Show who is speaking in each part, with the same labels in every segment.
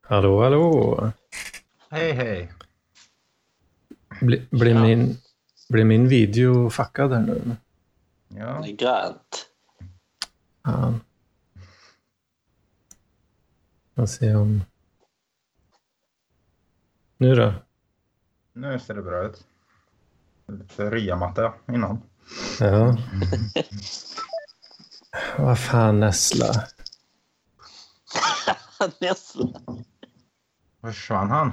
Speaker 1: Hallå, hallå.
Speaker 2: Hej, hej.
Speaker 1: Bli, blir,
Speaker 3: Ja.
Speaker 1: min, blir min video fuckad här nu?
Speaker 2: Ja.
Speaker 3: Det är grönt.
Speaker 1: Fan. Får se om... Nu då?
Speaker 2: Nu ser det bra ut. Lite ryamatta innan.
Speaker 1: Ja. Vad fan, Nessla.
Speaker 3: Näsla.
Speaker 2: Försvann han?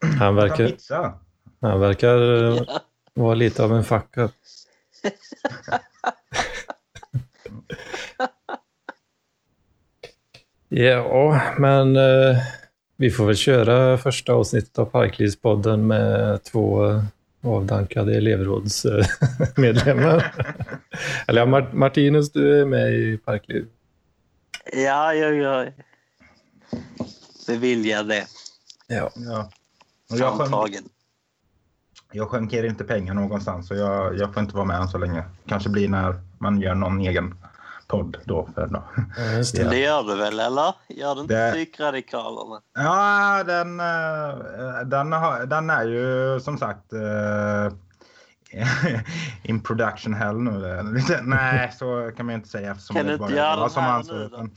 Speaker 1: Han
Speaker 2: Han
Speaker 1: verkar,
Speaker 2: pizza.
Speaker 1: han verkar eh, vara lite av en fuck up. Ja, men eh, vi får väl köra första avsnittet av Parklivspodden med två eh, avdankade elevrådsmedlemmar. Eller ja, Mart- Martinus, du är med i Parkliv.
Speaker 3: Ja, ja, ja. Beviljade
Speaker 1: Ja.
Speaker 2: Ja. Och jag, sjönk,
Speaker 3: antagen.
Speaker 2: jag skänker inte pengar någonstans så jag, jag får inte vara med än så länge. Kanske blir när man gör någon egen podd då. För då.
Speaker 1: Just det.
Speaker 3: Det gör du väl, eller? Gör du inte
Speaker 2: Det-
Speaker 3: psykradikalerna?
Speaker 2: Ja, den, eh, den, har, den är ju som sagt eh, in production hell nu. Lite- Nej, så kan man ju inte säga eftersom
Speaker 3: Kan
Speaker 2: det
Speaker 3: du inte
Speaker 2: bara
Speaker 3: göra
Speaker 2: var
Speaker 3: den
Speaker 2: som
Speaker 3: här
Speaker 2: han sa,
Speaker 3: nu då?
Speaker 2: utan-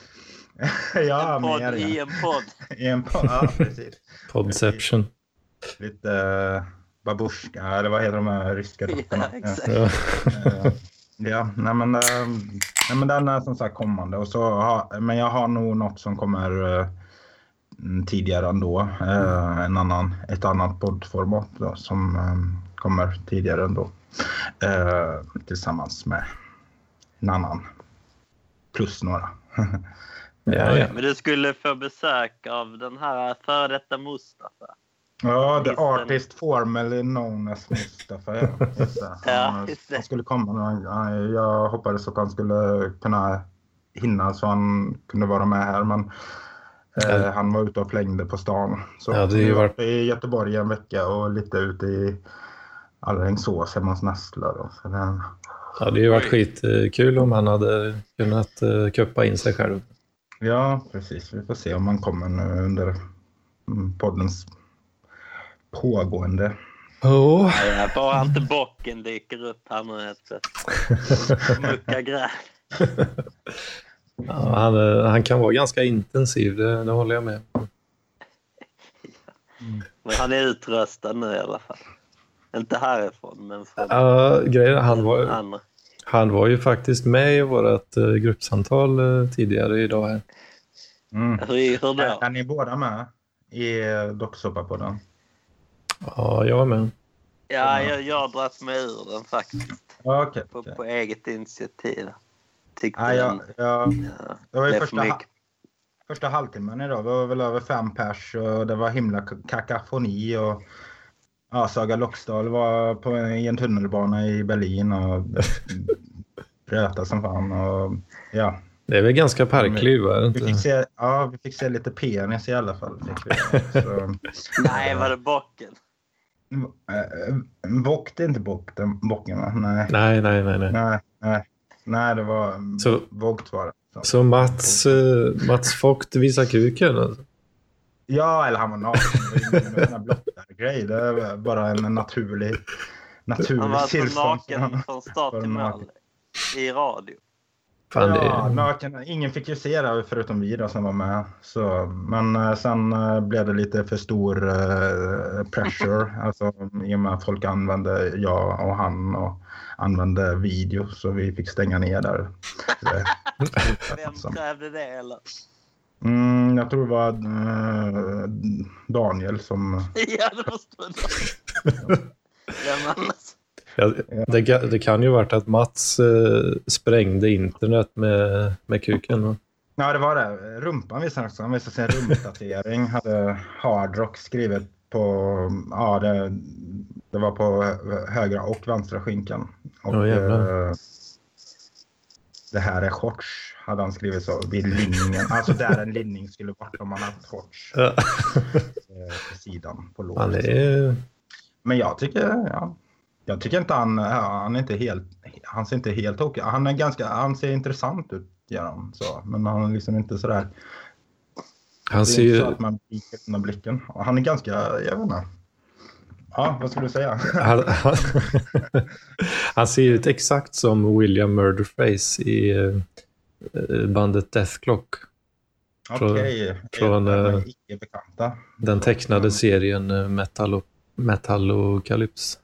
Speaker 2: Ja,
Speaker 3: en podd
Speaker 2: mer
Speaker 3: i en podd.
Speaker 2: I en podd, ja precis.
Speaker 1: Podception.
Speaker 2: Lite eh, babusjka, eller vad heter de här ryska
Speaker 3: ja,
Speaker 2: dockorna?
Speaker 3: exakt.
Speaker 1: Ja.
Speaker 2: Eh, ja, nej men, eh, nej men den är som sagt kommande. Och så har, men jag har nog något som kommer eh, mm, tidigare ändå. Eh, en annan, ett annat poddformat då, som eh, kommer tidigare ändå. Eh, tillsammans med en annan. Plus några.
Speaker 1: Ja, ja.
Speaker 3: Men du skulle få besök av den här före detta Mustafa.
Speaker 2: Ja, the
Speaker 3: Artisten.
Speaker 2: artist formerly known as Mustafa. Ja. Just det.
Speaker 3: Ja,
Speaker 2: Han,
Speaker 3: just det.
Speaker 2: han skulle komma. någon gång. Jag hoppades att han skulle kunna hinna så han kunde vara med här. Men
Speaker 1: Ja.
Speaker 2: eh, han var ute och flängde på stan. Så
Speaker 1: Ja, det är ju
Speaker 2: vi
Speaker 1: varit-
Speaker 2: i Göteborg en vecka och lite ute i Alingsås hemma hos Nessla. då. Så det-
Speaker 1: Det hade ju varit skitkul om han hade kunnat eh, kuppa in sig själv.
Speaker 2: Ja, precis. Vi får se om han kommer nu under mm, poddens pågående.
Speaker 1: Ja,
Speaker 3: Ja, bara inte bocken dyker upp här nu helt plötsligt. Mucka gräl.
Speaker 1: han, eh, han kan vara ganska intensiv, det, det håller jag med om.
Speaker 3: Men han är utröstad nu i alla fall. Inte härifrån, men från
Speaker 1: Ja, grejen, är, han, var,
Speaker 3: andra.
Speaker 1: han var ju faktiskt med i vårt eh, gruppsamtal eh, tidigare idag. Här.
Speaker 2: Mm.
Speaker 3: Hur, hur då?
Speaker 2: Är, är ni båda med i Docksåpa-podden?
Speaker 1: Ja, jag var med.
Speaker 3: Ja, jag, jag har dragit mig ur den faktiskt.
Speaker 2: Ja, okej.
Speaker 3: På,
Speaker 2: okej.
Speaker 3: på eget initiativ. Tyckte
Speaker 2: Nej, jag,
Speaker 3: den...
Speaker 2: jag,
Speaker 3: Ja,
Speaker 2: det var
Speaker 3: det
Speaker 2: ju
Speaker 3: är för
Speaker 2: första, ha-
Speaker 3: mycket.
Speaker 2: första halvtimmen idag. Vi var väl över fem pers och det var himla k- kakafoni. Och, ja, Saga Loxdal var på, i en tunnelbana i Berlin och röta som fan. Och, ja.
Speaker 1: Det är väl ganska parkliv, är det
Speaker 2: Vi,
Speaker 1: inte?
Speaker 2: fick se, ja, vi fick se lite penis i alla fall. Fick vi. Så,
Speaker 3: Nej, var det bocken?
Speaker 2: eh, bock, det är inte bock, den, bocken va? Nej.
Speaker 1: Nej, nej, nej. nej.
Speaker 2: Nej, nej. nej, det var mm,
Speaker 1: Så,
Speaker 2: vågt var det. Så.
Speaker 1: så Mats, eh, Mats Vogt visar kuken? Alltså.
Speaker 2: Ja, eller han var naken. Det var ju blottargrej. Det var bara en naturlig,
Speaker 3: Han var
Speaker 2: naturlig
Speaker 3: alltså
Speaker 2: tillstånd.
Speaker 3: naken från start
Speaker 2: Var
Speaker 3: till mål.
Speaker 2: naken.
Speaker 3: I radio.
Speaker 1: Fan, det
Speaker 2: Ja,
Speaker 1: är...
Speaker 2: naken. Ingen fick ju se det förutom vi då som var med. Så, men eh, sen eh, blev det lite för stor eh, pressure. Alltså, I och med att folk använde jag och han och använde video så vi fick stänga ner där. Liksom.
Speaker 3: Vem
Speaker 2: Som-
Speaker 3: krävde det eller?
Speaker 2: Mm, jag tror det var eh, Daniel som...
Speaker 3: Ja, det förstod jag. Vem annars?
Speaker 1: Ja, det, ga- det kan ju varit att Mats eh, sprängde internet med, med kuken. va?
Speaker 2: Ja, det var det. Rumpan visade han också. Han visade sin rumpdatering. hade hardrock skrivet på... Ja, det, det var på hö- högra och vänstra skinkan. Och,
Speaker 1: Åh, jävlar.
Speaker 2: eh, det här är shorts, hade han skrivit så. Vid linningen. Alltså där en linning skulle vara om man haft shorts
Speaker 1: Ja.
Speaker 2: eh, på sidan på
Speaker 1: Han
Speaker 2: låret.
Speaker 1: är...
Speaker 2: Men jag tycker... Ja, jag tycker inte han... ja, Han, är inte helt, han ser inte helt okej Han är ganska... Han ser intressant ut, gör han. Så, men han är liksom inte sådär...
Speaker 1: Han
Speaker 2: Det
Speaker 1: ser
Speaker 2: är inte
Speaker 1: ju,
Speaker 2: så att man viker undan blicken. Och Han är ganska, jag vet inte. Ja, vad skulle du säga?
Speaker 1: han, han, han ser ut exakt som William Murderface i eh, bandet Death Clock. Från-
Speaker 2: Okej,
Speaker 1: från,
Speaker 2: okay.
Speaker 1: eh,
Speaker 2: icke-bekanta.
Speaker 1: Den tecknade serien eh, Metallo, Metallocalypse.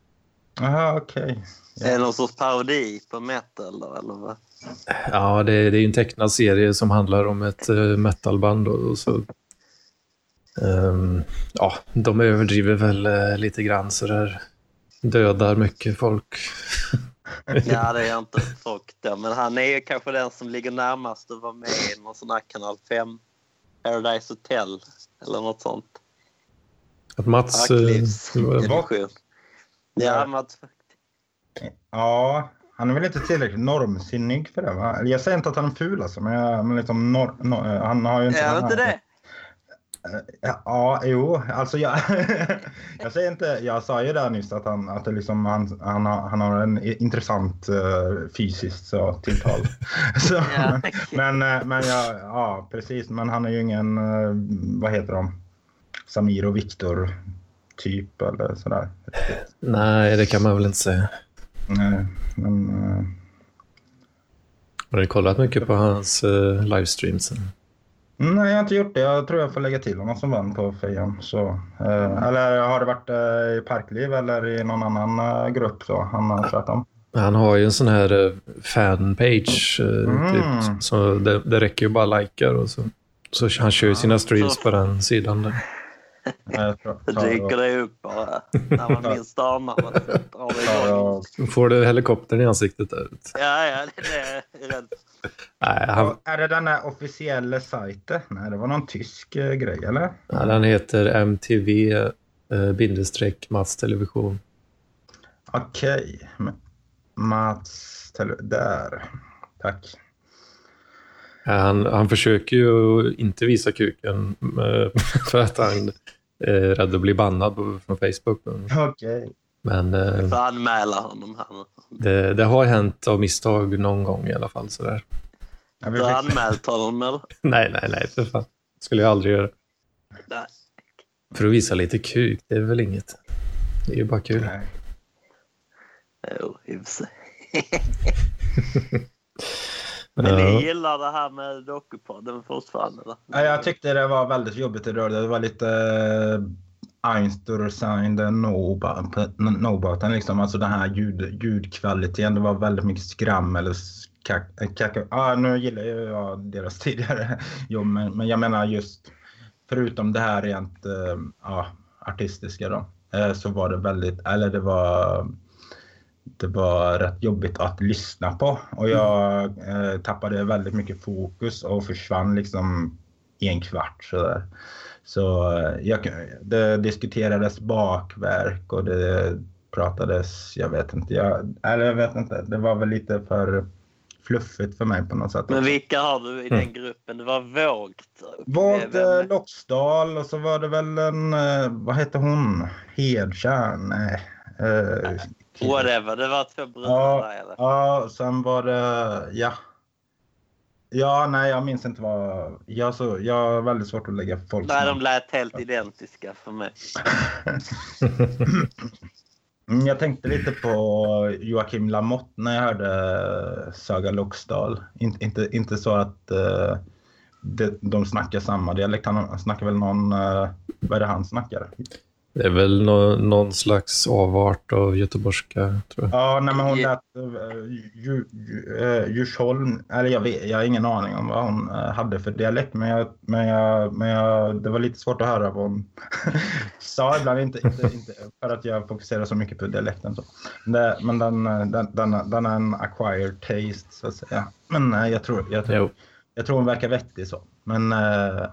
Speaker 2: Jaha, okej.
Speaker 3: Är det någon sorts parodi på metal då, eller vad?
Speaker 1: Ja, det, det är ju en tecknad serie som handlar om ett eh, metalband. Och, och så, Ehm, ja, de överdriver väl eh, lite grann så där dödar mycket folk.
Speaker 3: Ja, det är inte folk där. Men han är ju kanske den som ligger närmast att vara med i någon sån här kanal 5, Paradise Hotel eller något sånt.
Speaker 1: Att
Speaker 2: Alltså,
Speaker 1: Mats... eh,
Speaker 3: Arklivsedition. Ja, men att-
Speaker 2: Ja, han är väl inte tillräckligt normsinnig för det va? Eller Jag säger inte att han är ful alltså, men, jag, men liksom nor, nor, han har ju inte...
Speaker 3: är det
Speaker 2: den
Speaker 3: inte
Speaker 2: här-
Speaker 3: det?
Speaker 2: Ja, ja, jo, alltså jag... jag säger inte... Jag sa ju där nyss att han, att det liksom, han, han, har, han har en i- intressant uh, fysiskt så, tilltal. så,
Speaker 3: Ja,
Speaker 2: Men, eh, men jag, ja, precis. Men han är ju ingen, eh, vad heter de? Samir och Viktor typ eller sådär.
Speaker 1: Nej, det kan man väl inte säga.
Speaker 2: Nej, men... eh,
Speaker 1: Har ni kollat mycket på hans eh, livestreams?
Speaker 2: mm, Nej, jag har inte gjort det. Jag tror jag får lägga till honom som vän på fejan. Så, eh, eller har det varit eh, i Parkliv eller i någon annan eh, grupp så han har kört om?
Speaker 1: Han har ju en sån här eh, fanpage. Eh,
Speaker 2: Mm.
Speaker 1: typ, så det, det räcker ju bara likar och så. Så han kör ju sina streams på den sidan. Där.
Speaker 2: Eh, jag tror-
Speaker 3: Det
Speaker 2: tar och-
Speaker 3: dyker det upp bara. När man minst anar vad det drar det
Speaker 2: tar
Speaker 3: igång.
Speaker 2: och-
Speaker 1: Får du helikoptern i ansiktet? Där?
Speaker 3: Ja, ja, det är rädd.
Speaker 1: Nej, han,
Speaker 2: Och Är det den där officiella sajten? Nej, det var någon tysk eh, grej eller?
Speaker 1: Ja, den heter MTV eh, bindestreck Mats Television.
Speaker 2: Okej. men- Mats, Tell- där. Tack.
Speaker 1: Ja, Han, han försöker ju inte visa kuken eh, för att han eh, är rädd att bli bannad på- från Facebook. Men,
Speaker 2: Okej.
Speaker 1: men eh,
Speaker 3: Får anmäla honom här.
Speaker 1: det, det har hänt av misstag någon gång i alla fall. Sådär.
Speaker 2: Ja, vi
Speaker 3: Du har
Speaker 2: fick-
Speaker 3: anmält honom eller?
Speaker 1: Nej, nej, nej, för fan. skulle jag aldrig göra.
Speaker 3: Nej.
Speaker 1: För att visa lite kuk, det är väl inget. Det är ju bara kul.
Speaker 2: Nej.
Speaker 3: Jo, i och för sig. Men ni
Speaker 1: Ja,
Speaker 3: gillar det här med Dokupodden fortfarande? Eller?
Speaker 2: Ja, Jag tyckte det var väldigt jobbigt i rörde. Det var lite eh, Einstein the Noboten. Liksom. Alltså den här ljud, ljudkvaliteten. Det var väldigt mycket skram eller kack. kack. Ah, nu gillar ju jag deras tidigare jobb. Men, men jag menar just förutom det här rent eh, ja, artistiska då. eh, Så var det väldigt, eller det var det var rätt jobbigt att lyssna på och jag eh, tappade väldigt mycket fokus och försvann liksom i en kvart sådär. Så eh, jag, det diskuterades bakverk och det pratades, jag vet inte, jag, eller jag vet inte, det var väl lite för fluffigt för mig på något sätt.
Speaker 3: Men vilka har du i den gruppen? Det var Vågt.
Speaker 2: Vårt eh,
Speaker 3: Vem-
Speaker 2: Loxdal och så var det väl en, eh, vad hette hon, Hedtjärn? Nej. Eh,
Speaker 3: Whatever, det var två brudar där eller?
Speaker 2: Ja, sen var det... Ja. Ja, nej, jag minns inte vad... Jag, så, jag har väldigt svårt att lägga folk...
Speaker 3: Nej, de lät helt identiska för mig.
Speaker 2: Mm, Jag tänkte lite på Joakim Lamotte när jag hörde eh, Saga Loxdal. In, inte, inte så att eh, de, de snackar samma dialekt. Han snackar väl någon... eh, vad är det han snackar?
Speaker 1: det är väl nå- någon slags avart av göteborgska, tror jag.
Speaker 2: Ja, nej, men hon
Speaker 3: Ja.
Speaker 2: lät eh, Ju- Ju- eh, Djursholm, eller jag, vet, jag har ingen aning om vad hon eh, hade för dialekt, men, jag, men, jag, men jag, det var lite svårt att höra vad hon sa ibland, inte, inte, inte för att jag fokuserar så mycket på dialekten. Så. Det, men den, eh, den, den, den är en acquired taste, så att säga. Men eh, jag tror, jag, tror-
Speaker 1: Jo.
Speaker 2: jag tror hon verkar vettig så. Men, eh,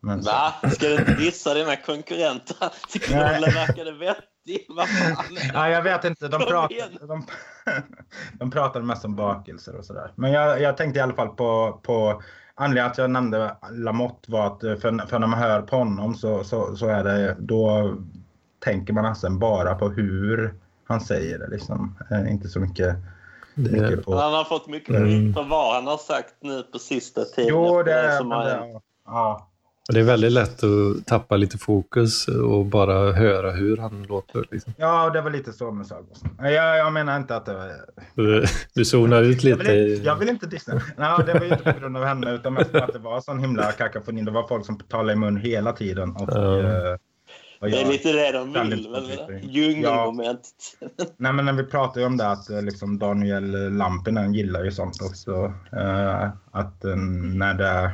Speaker 2: men så.
Speaker 3: Va? Ska du inte dissa dina konkurrenter? Tycker du
Speaker 2: Nej.
Speaker 3: Olle verkade vettig? Vad fan?
Speaker 2: Ja, jag vet inte. De
Speaker 3: Kom
Speaker 2: pratar,
Speaker 3: igen.
Speaker 2: de, de pratar mest om bakelser och sådär. Men jag, jag tänkte i alla fall på, på anledningen att jag nämnde Lamotte var att eh, för, för när man hör på honom så, så, så är det då tänker man nästan bara på hur han säger det liksom. Eh, inte så mycket,
Speaker 1: Det,
Speaker 2: mycket på...
Speaker 3: Han har fått mycket
Speaker 1: Mm.
Speaker 3: skit för vad han har sagt nu på sista tiden.
Speaker 2: Jo,
Speaker 3: efter
Speaker 2: det,
Speaker 3: som
Speaker 2: men
Speaker 3: har hänt.
Speaker 2: det ja.
Speaker 1: Det är väldigt lätt att tappa lite fokus och bara höra hur han låter. Liksom.
Speaker 2: Ja, det var lite så med Sargos. Jag, jag menar inte att det var...
Speaker 1: Du, du zonar ut
Speaker 2: Jag
Speaker 1: lite.
Speaker 2: vill,
Speaker 1: i-
Speaker 2: inte- jag vill inte dissa. Nej, det var ju inte på grund av henne utan mest för att det var sån himla kakafoni. Det var folk som talade i mun hela tiden. Och,
Speaker 1: Ja.
Speaker 2: eh, och
Speaker 3: Det är
Speaker 2: jag-
Speaker 3: lite det de
Speaker 2: Väldigt
Speaker 3: vill. väl?
Speaker 2: positivt.
Speaker 3: Djungelmomentet.
Speaker 2: Nej, men när vi pratade ju om det att eh, liksom Daniel Lampinen gillar ju sånt också. Eh, att eh, när det är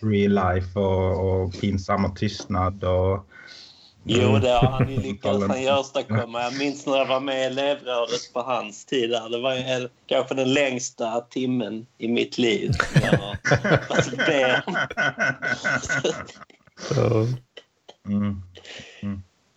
Speaker 2: real life och, och pinsam och tystnad och...
Speaker 3: Jo, det har han ju lyckats
Speaker 2: Talen.
Speaker 3: han ju åstadkomma. Jag minns när jag var med i Elevröret på hans tid. Där. Det var ju en, kanske den längsta timmen i mitt liv. som jag alltså, har varit med om.
Speaker 1: Ja.
Speaker 2: Mm.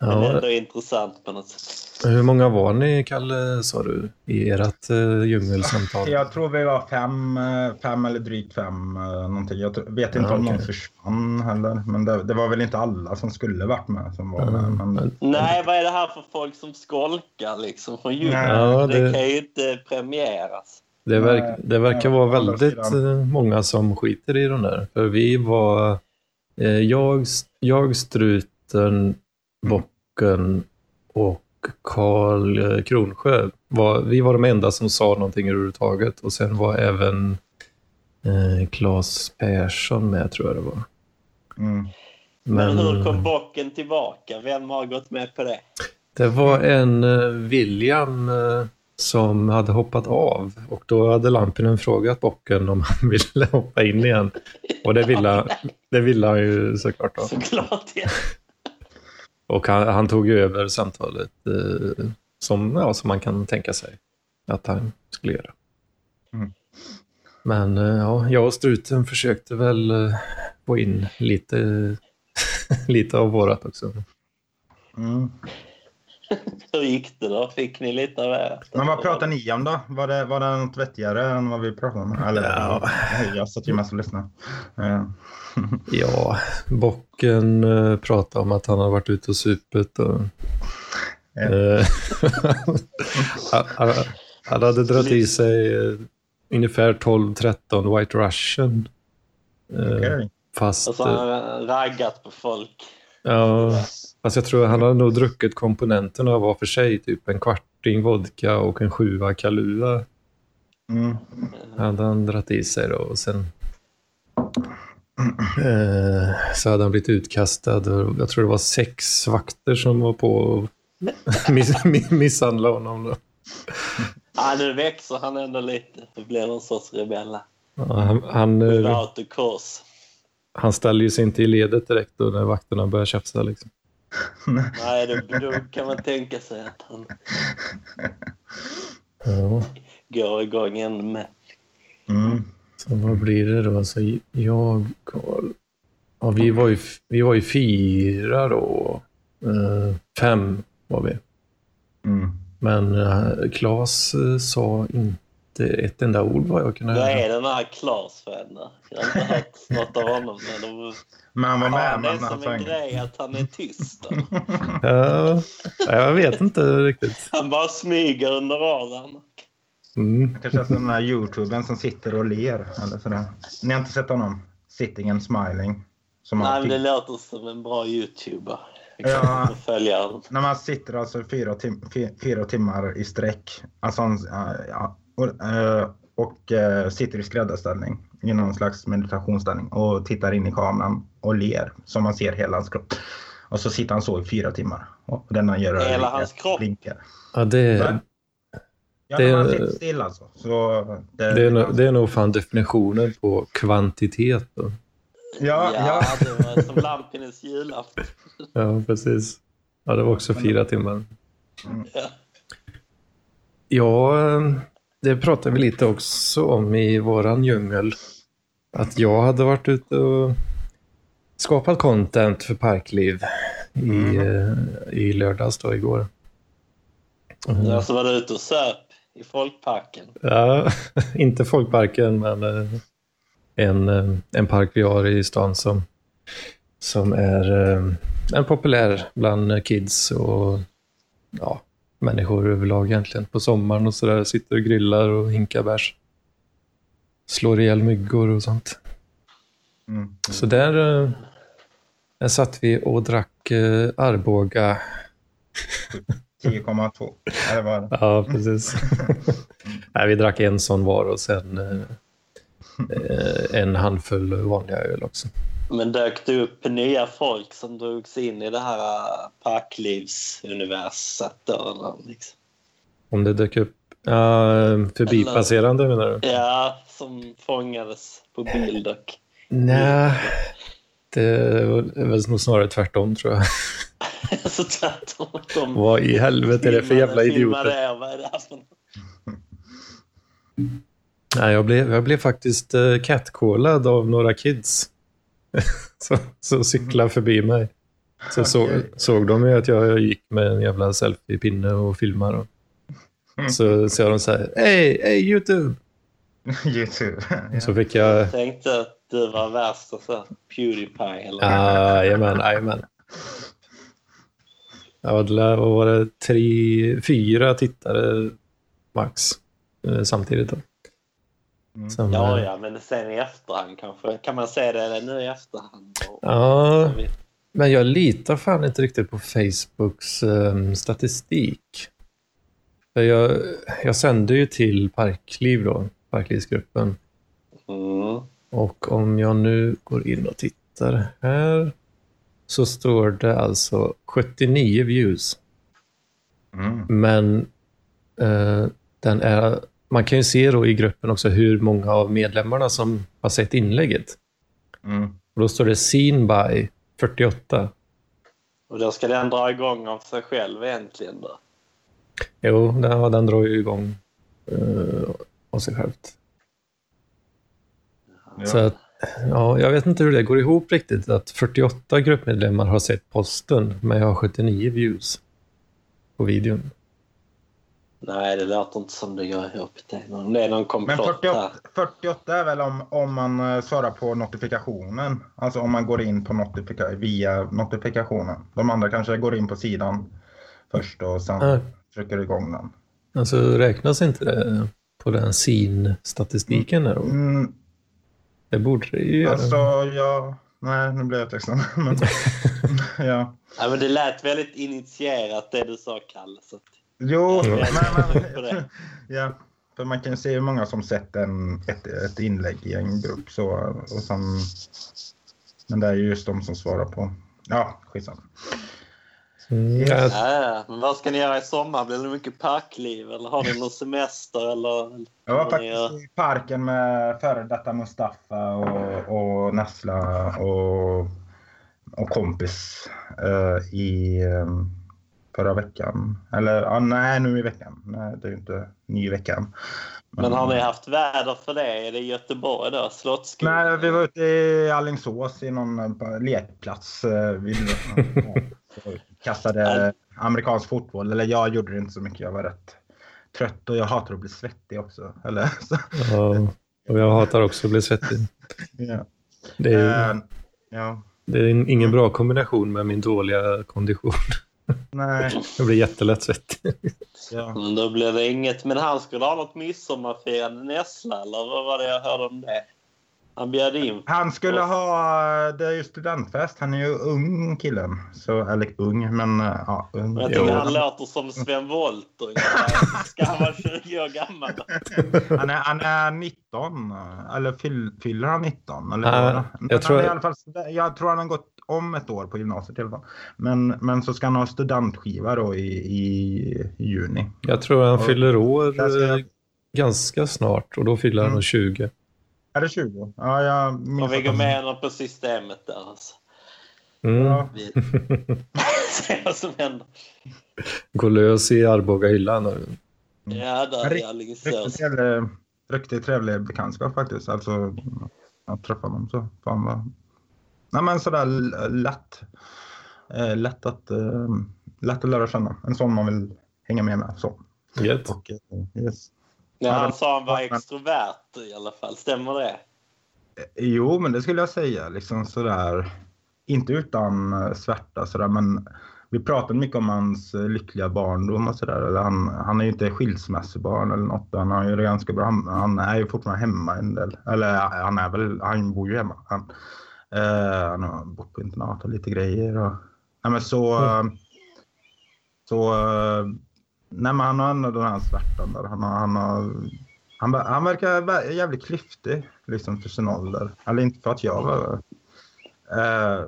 Speaker 3: Men
Speaker 1: Ja.
Speaker 3: ändå intressant på något sätt.
Speaker 1: Hur många var ni, Kalle, sa du, i ert uh, djungelsamtal?
Speaker 2: Jag tror vi var fem, eh, fem eller drygt fem eh, någonting. Jag tr- vet inte
Speaker 1: Ja,
Speaker 2: om någon
Speaker 1: okej.
Speaker 2: försvann heller. Men det, det var väl inte alla som skulle varit med som var med.
Speaker 1: Ja,
Speaker 2: Men,
Speaker 3: Nej, vad är det här för folk som skolkar liksom från djungeln?
Speaker 1: Ja,
Speaker 3: det...
Speaker 1: det,
Speaker 3: kan ju inte premieras.
Speaker 1: det, verk, det verkar
Speaker 2: Ja,
Speaker 1: vara
Speaker 2: å andra
Speaker 1: väldigt
Speaker 2: sidan.
Speaker 1: eh, många som skiter i den där. För vi var eh, jag, jag Struten, Bocken och Karl eh, Kronsjö. Var, vi var de enda som sa någonting överhuvudtaget. Och sen var även eh, Claes Persson med, tror jag det var.
Speaker 2: mm.
Speaker 3: Men, hur kom bocken tillbaka? Vem har gått med på det?
Speaker 1: Det var en eh, William eh, som hade hoppat av och då hade Lampinen frågat bocken om han ville hoppa in igen. Och det ville, han- det ville han ju såklart. Då.
Speaker 3: Såklart. Ja.
Speaker 1: Och han, han tog ju över samtalet eh, som, ja, som man kan tänka sig att han skulle göra.
Speaker 2: Mm.
Speaker 1: Men eh, ja, jag och struten försökte väl eh, få in lite, lite av vårat också.
Speaker 2: Mm.
Speaker 3: Hur gick det då? Fick ni lite av det?
Speaker 2: Men vad pratar ni om då? Var det, var det något vettigare än vad vi pratade om? Eller,
Speaker 1: Ja.
Speaker 2: Jag satt ju mest och lyssnade. Eh,
Speaker 1: Ja, bocken eh, pratade om att han har varit ute och supit. Och,
Speaker 2: Ja.
Speaker 1: Eh, han, han, han hade dragit i sig eh, ungefär 12-13 White Russian. Eh,
Speaker 2: okej. Alltså,
Speaker 1: Fast,
Speaker 3: Och så
Speaker 1: eh,
Speaker 3: har han raggat på folk.
Speaker 1: ja, fast jag tror han hade nog druckit komponenterna var för sig. Typ en kvarting vodka och en sjua Kahlua
Speaker 2: Mm.
Speaker 1: hade han dragit i sig. Då, och sen eh, så hade han blivit utkastad. och Jag tror det var sex vakter som var på och miss, miss- misshandla honom. Då.
Speaker 3: Ja, nu växer han ändå lite. Det blir någon sorts rebella.
Speaker 1: Ja, Han, han, eh,
Speaker 3: Out of course.
Speaker 1: han ställer ju sig inte i ledet direkt då när vakterna börjar tjafsa. Liksom.
Speaker 3: Nej, då, då kan man tänka sig att han
Speaker 1: Ja,
Speaker 3: går igång ännu mer.
Speaker 2: Mm.
Speaker 1: så vad blir det då? Alltså, jag, Karl... Ja, vi, var ju, f- vi var ju fyra då. Eh, fem var vi.
Speaker 2: Mm.
Speaker 1: Men eh, Claes eh, sa inte ett enda ord vad jag kunde
Speaker 3: Vad
Speaker 1: höra.
Speaker 3: är den här Klas för en då? Jag har inte hört något av honom. Men de,
Speaker 2: Men han var med,
Speaker 3: ja, det är
Speaker 2: men han
Speaker 3: som alltså, en
Speaker 2: sjöng.
Speaker 3: grej att han är tyst. Då.
Speaker 1: Ja, jag vet inte riktigt.
Speaker 3: Han bara smyger under radarn.
Speaker 1: Mm.
Speaker 2: Kanske som den här youtubern som sitter och ler. Eller sådär. Ni har inte sett honom? Sitting and smiling. Som
Speaker 3: Nej,
Speaker 2: har
Speaker 3: men det
Speaker 2: film.
Speaker 3: låter som en bra youtuber. Jag
Speaker 2: Ja.
Speaker 3: kan inte följa honom.
Speaker 2: När man sitter alltså fyra, tim fy- fyra timmar i sträck. Alltså, han- ja, ja, och, eh, och eh, sitter i skräddarställning. I någon slags meditationsställning. Och tittar in i kameran och ler. Som man ser hela hans kropp. Och så sitter han så i fyra timmar. Och den han gör
Speaker 3: Hela
Speaker 2: blinkar-
Speaker 3: hans kropp?
Speaker 2: Blinkar.
Speaker 1: Ja, det,
Speaker 2: Va? Ja,
Speaker 1: Det-
Speaker 2: men han sitter still alltså. Så det, liksom-
Speaker 1: det, är, nog- det är nog fan definitionen på kvantitet. Då.
Speaker 2: Ja, ja.
Speaker 3: det var som Lampinens julafton.
Speaker 1: Ja, precis. Ja, det var också fyra timmar.
Speaker 3: Ja.
Speaker 1: Ja, ehm, det pratade vi lite också om i våran djungel. Att jag hade varit ute och skapat content för Parkliv i, eh, i lördags då, igår.
Speaker 3: Så alltså var du ute och söp i folkparken.
Speaker 1: Ja, inte folkparken, men eh, en, eh, en park vi har i stan som, som är eh, en populär bland kids och ja, människor överlag egentligen. På sommaren och sådär, sitter och grillar och hinkar bärs. Slår ihjäl myggor och sånt.
Speaker 2: Mm.
Speaker 1: Så där eh, Sen satt vi och drack eh, Arboga.
Speaker 2: 10,2. Eller vad?
Speaker 1: Ja, precis. Nej, vi drack en sån var och sen eh, eh, en handfull vanliga öl också.
Speaker 3: Men dök det upp nya folk som drogs in i det här äh, packlivsuniverset? då, eller Liksom.
Speaker 1: Om det dök upp uh, förbipasserande menar du?
Speaker 3: Ja, som fångades på bild och...
Speaker 1: Nej, det var väl nog snarare tvärtom tror jag.
Speaker 3: så tvärtom. De
Speaker 1: Vad i helvete är det för jävla
Speaker 3: filmade-
Speaker 1: idioter?
Speaker 3: filmade er, vad är det här för något?
Speaker 1: Nej, jag blev, jag blev faktiskt eh, catcallad av några kids som som cyklade förbi mig. Så så,
Speaker 2: Okej.
Speaker 1: såg de ju att jag, jag gick med en jävla selfiepinne och filmade. Och, så sa de så här, hej, hej YouTube!
Speaker 2: Youtube.
Speaker 1: Så fick jag,
Speaker 3: Jag tänkte att du var värsta så här, Pewdiepie eller
Speaker 1: "Ah, jajamän, jajamän. Jag var där, vad var det, tre, fyra tittare max eh, samtidigt. Då.
Speaker 2: Mm.
Speaker 1: Sen,
Speaker 3: Ja,
Speaker 1: eh,
Speaker 3: ja, men sen i efterhand kanske. Kan man se det nu i efterhand? Och-
Speaker 1: ja. Men jag litar fan inte riktigt på Facebooks ehm, statistik. För jag, jag sänder ju till Parkliv då, Parklivsgruppen.
Speaker 3: Mm.
Speaker 1: Och om jag nu går in och tittar här så står det alltså 79 views.
Speaker 2: Mm.
Speaker 1: Men eh, den är, man kan ju se då i gruppen också hur många av medlemmarna som har sett inlägget.
Speaker 2: Mm.
Speaker 1: Och då står det seen by 48.
Speaker 3: Och då ska den dra igång av sig själv egentligen då.
Speaker 1: Jo, den, ja, den drar ju igång uh, av sig självt.
Speaker 2: Ja.
Speaker 1: Så att, ja, jag vet inte hur det går ihop riktigt. Att 48 gruppmedlemmar har sett posten, men jag har 79 views på videon.
Speaker 3: Nej, det låter inte som det går ihop. Det är någon, det är någon
Speaker 2: Men
Speaker 3: komplott här.
Speaker 2: 48, 48 är väl om, om man eh, svarar på notifikationen. Alltså om man går in på notifika, via notifikationen. De andra kanske går in på sidan först och sen
Speaker 1: Ah,
Speaker 2: trycker igång den.
Speaker 1: alltså räknas inte det på den sin-statistiken? där då?
Speaker 2: Mm,
Speaker 1: Det borde det ju göra.
Speaker 2: alltså jag... Nej, nu blev jag tveksam. Men, ja.
Speaker 3: Ja, men det lät väldigt initierat det du sa, Kalle. Så att...
Speaker 2: Jo,
Speaker 1: Ja.
Speaker 2: men,
Speaker 3: På
Speaker 2: men,
Speaker 3: det.
Speaker 2: ja. För man kan se hur många som sett en, ett, ett inlägg i en grupp. Så, och sen, men det är ju just de som svarar på. Ja, skitsamma.
Speaker 1: Mm, jag,
Speaker 3: ja, ja. Men vad ska ni göra i sommar? Blir det mycket parkliv eller har ni någon semester? Eller...
Speaker 2: Jag var
Speaker 3: Ja.
Speaker 2: faktiskt i parken med före detta Mustafa och, och Nasla och, och kompis eh, i eh, förra veckan. Eller ja, nej, nu i veckan. Nej, det är ju inte ny veckan.
Speaker 3: Men har ni haft väder för det? Är det Göteborg då? Slottsskogen?
Speaker 2: Nej, vi var ute i Alingsås i någon eh, lekplats. eh, Vi ja, kastade amerikansk fotboll. Eller jag gjorde det inte så mycket. Jag var rätt trött och jag hatar att bli svettig också. Eller, så,
Speaker 1: ja, och jag hatar också att bli svettig.
Speaker 2: ja.
Speaker 1: Det är,
Speaker 2: Eh, ja.
Speaker 1: det är ingen bra kombination med min dåliga kondition.
Speaker 2: Nej.
Speaker 1: Jag blir jättelätt svettig.
Speaker 2: Ja.
Speaker 3: Men då blir det inget. Men han skulle ha något midsommarfirande näsla, eller vad var det jag hörde om det? Han bjöd in.
Speaker 2: Han skulle ha... Det är ju studentfest. Han är ju ung killen. Så, eller ung, men eh, ja. Ung.
Speaker 3: Men jag
Speaker 1: Jo.
Speaker 3: tycker han låter som Sven Wollter. Ska han vara 20 år gammal?
Speaker 2: Han, är, han är 19. eh, Eller fyll, fyller han 19? Eller
Speaker 1: Ah,
Speaker 2: vad är det?
Speaker 1: jag
Speaker 2: Men han
Speaker 1: tror-
Speaker 2: är i alla fall, stud- jag tror han har gått om ett år på gymnasiet i alla fall. Men, men så ska han ha studentskiva då i, i juni.
Speaker 1: Jag tror han
Speaker 2: Ja.
Speaker 1: fyller år
Speaker 2: Där ser jag-
Speaker 1: eh, ganska snart och då fyller han
Speaker 2: Mm.
Speaker 1: nog 20.
Speaker 2: Är det 20? Ja, jag minns
Speaker 3: Och vi
Speaker 2: att
Speaker 3: går
Speaker 2: han-
Speaker 3: med honom på systemet där. Alltså.
Speaker 1: Mm.
Speaker 2: Ja,
Speaker 3: Vi... Se vad som händer.
Speaker 1: Går lös i Arboga-hyllan. nu.
Speaker 2: Mm.
Speaker 3: Ja, där
Speaker 2: Rikt-
Speaker 3: i Alingsås.
Speaker 2: riktigt trevlig, riktigt trevlig bekantskap faktiskt. Alltså, att träffa honom så. Fan vad... Nej men sådär l- lätt. Eh, lätt, att, eh, lätt att lära känna. En sån man vill hänga med med. Så.
Speaker 1: Gött.
Speaker 2: Och, eh, yes.
Speaker 3: Ja, han sa han var extrovert i alla fall. Stämmer det?
Speaker 2: Jo, men det skulle jag säga. Liksom sådär, inte utan eh, svärta sådär, men vi pratade mycket om hans eh, lyckliga barndom och sådär. Eller Han, han är ju inte skilsmässobarn eller något. Han har ju det ganska bra. Han, han är ju fortfarande hemma en del. Eller han är väl, han bor ju hemma. Han, Eh, han har bott på internat och lite grejer. Och, nej, men så... eh, så eh, nej, men han har ändå den här svärtan där. Han, har, han, har, han, ver- han verkar vä- jävligt klyftig liksom, för sin ålder. Eller inte för att jag var... Eh,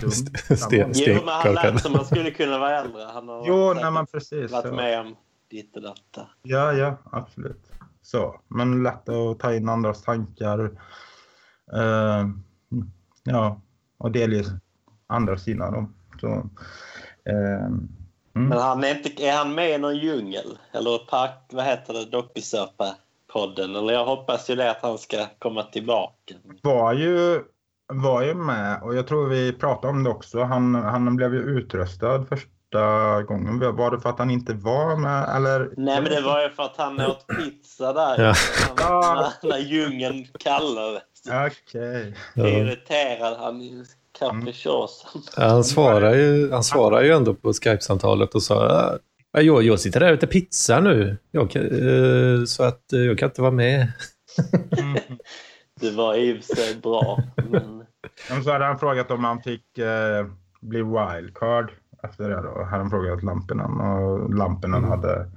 Speaker 2: dum.
Speaker 1: Sten-
Speaker 3: Jo, men han
Speaker 1: Stekkakan.
Speaker 3: lät som han skulle kunna vara äldre. Han har
Speaker 2: Jo,
Speaker 3: säkert
Speaker 2: nej, men precis.
Speaker 3: varit
Speaker 2: ja.
Speaker 3: med om ditt och datta.
Speaker 2: Ja, ja, absolut. Så, men lätt att ta in andras tankar. Eh, ja, och delge andra sina dem. Så, eh,
Speaker 3: Men
Speaker 2: mm.
Speaker 3: han är, inte, är han med i någon djungel? Eller park, vad heter det, dokusåpa-podden? Eller jag hoppas ju det att han ska komma tillbaka.
Speaker 2: Var ju, var ju med och jag tror vi pratade om det också. Han, han blev ju utröstad första gången. Var det för att han inte var med eller?
Speaker 3: Nej, men det var ju för att han åt pizza där.
Speaker 1: Ja.
Speaker 3: Han, när, när djungeln kallade.
Speaker 2: Okej.
Speaker 1: Ja.
Speaker 3: Irriterad. Han är ju capricciosa.
Speaker 1: Han, svarar ju, han svarar ju ändå på Skype-samtalet och sa "Ah, ja, jag, jag sitter där och äter pizza nu, jag kan, eh, så att eh, jag kan inte vara med.
Speaker 2: Mm.
Speaker 3: Det var i och för sig bra. Men
Speaker 2: Ja, men Så hade han frågat om han fick eh, bli wildcard efter det. Då. Hade han frågat Lampinen och Lampinen
Speaker 1: Mm.
Speaker 2: hade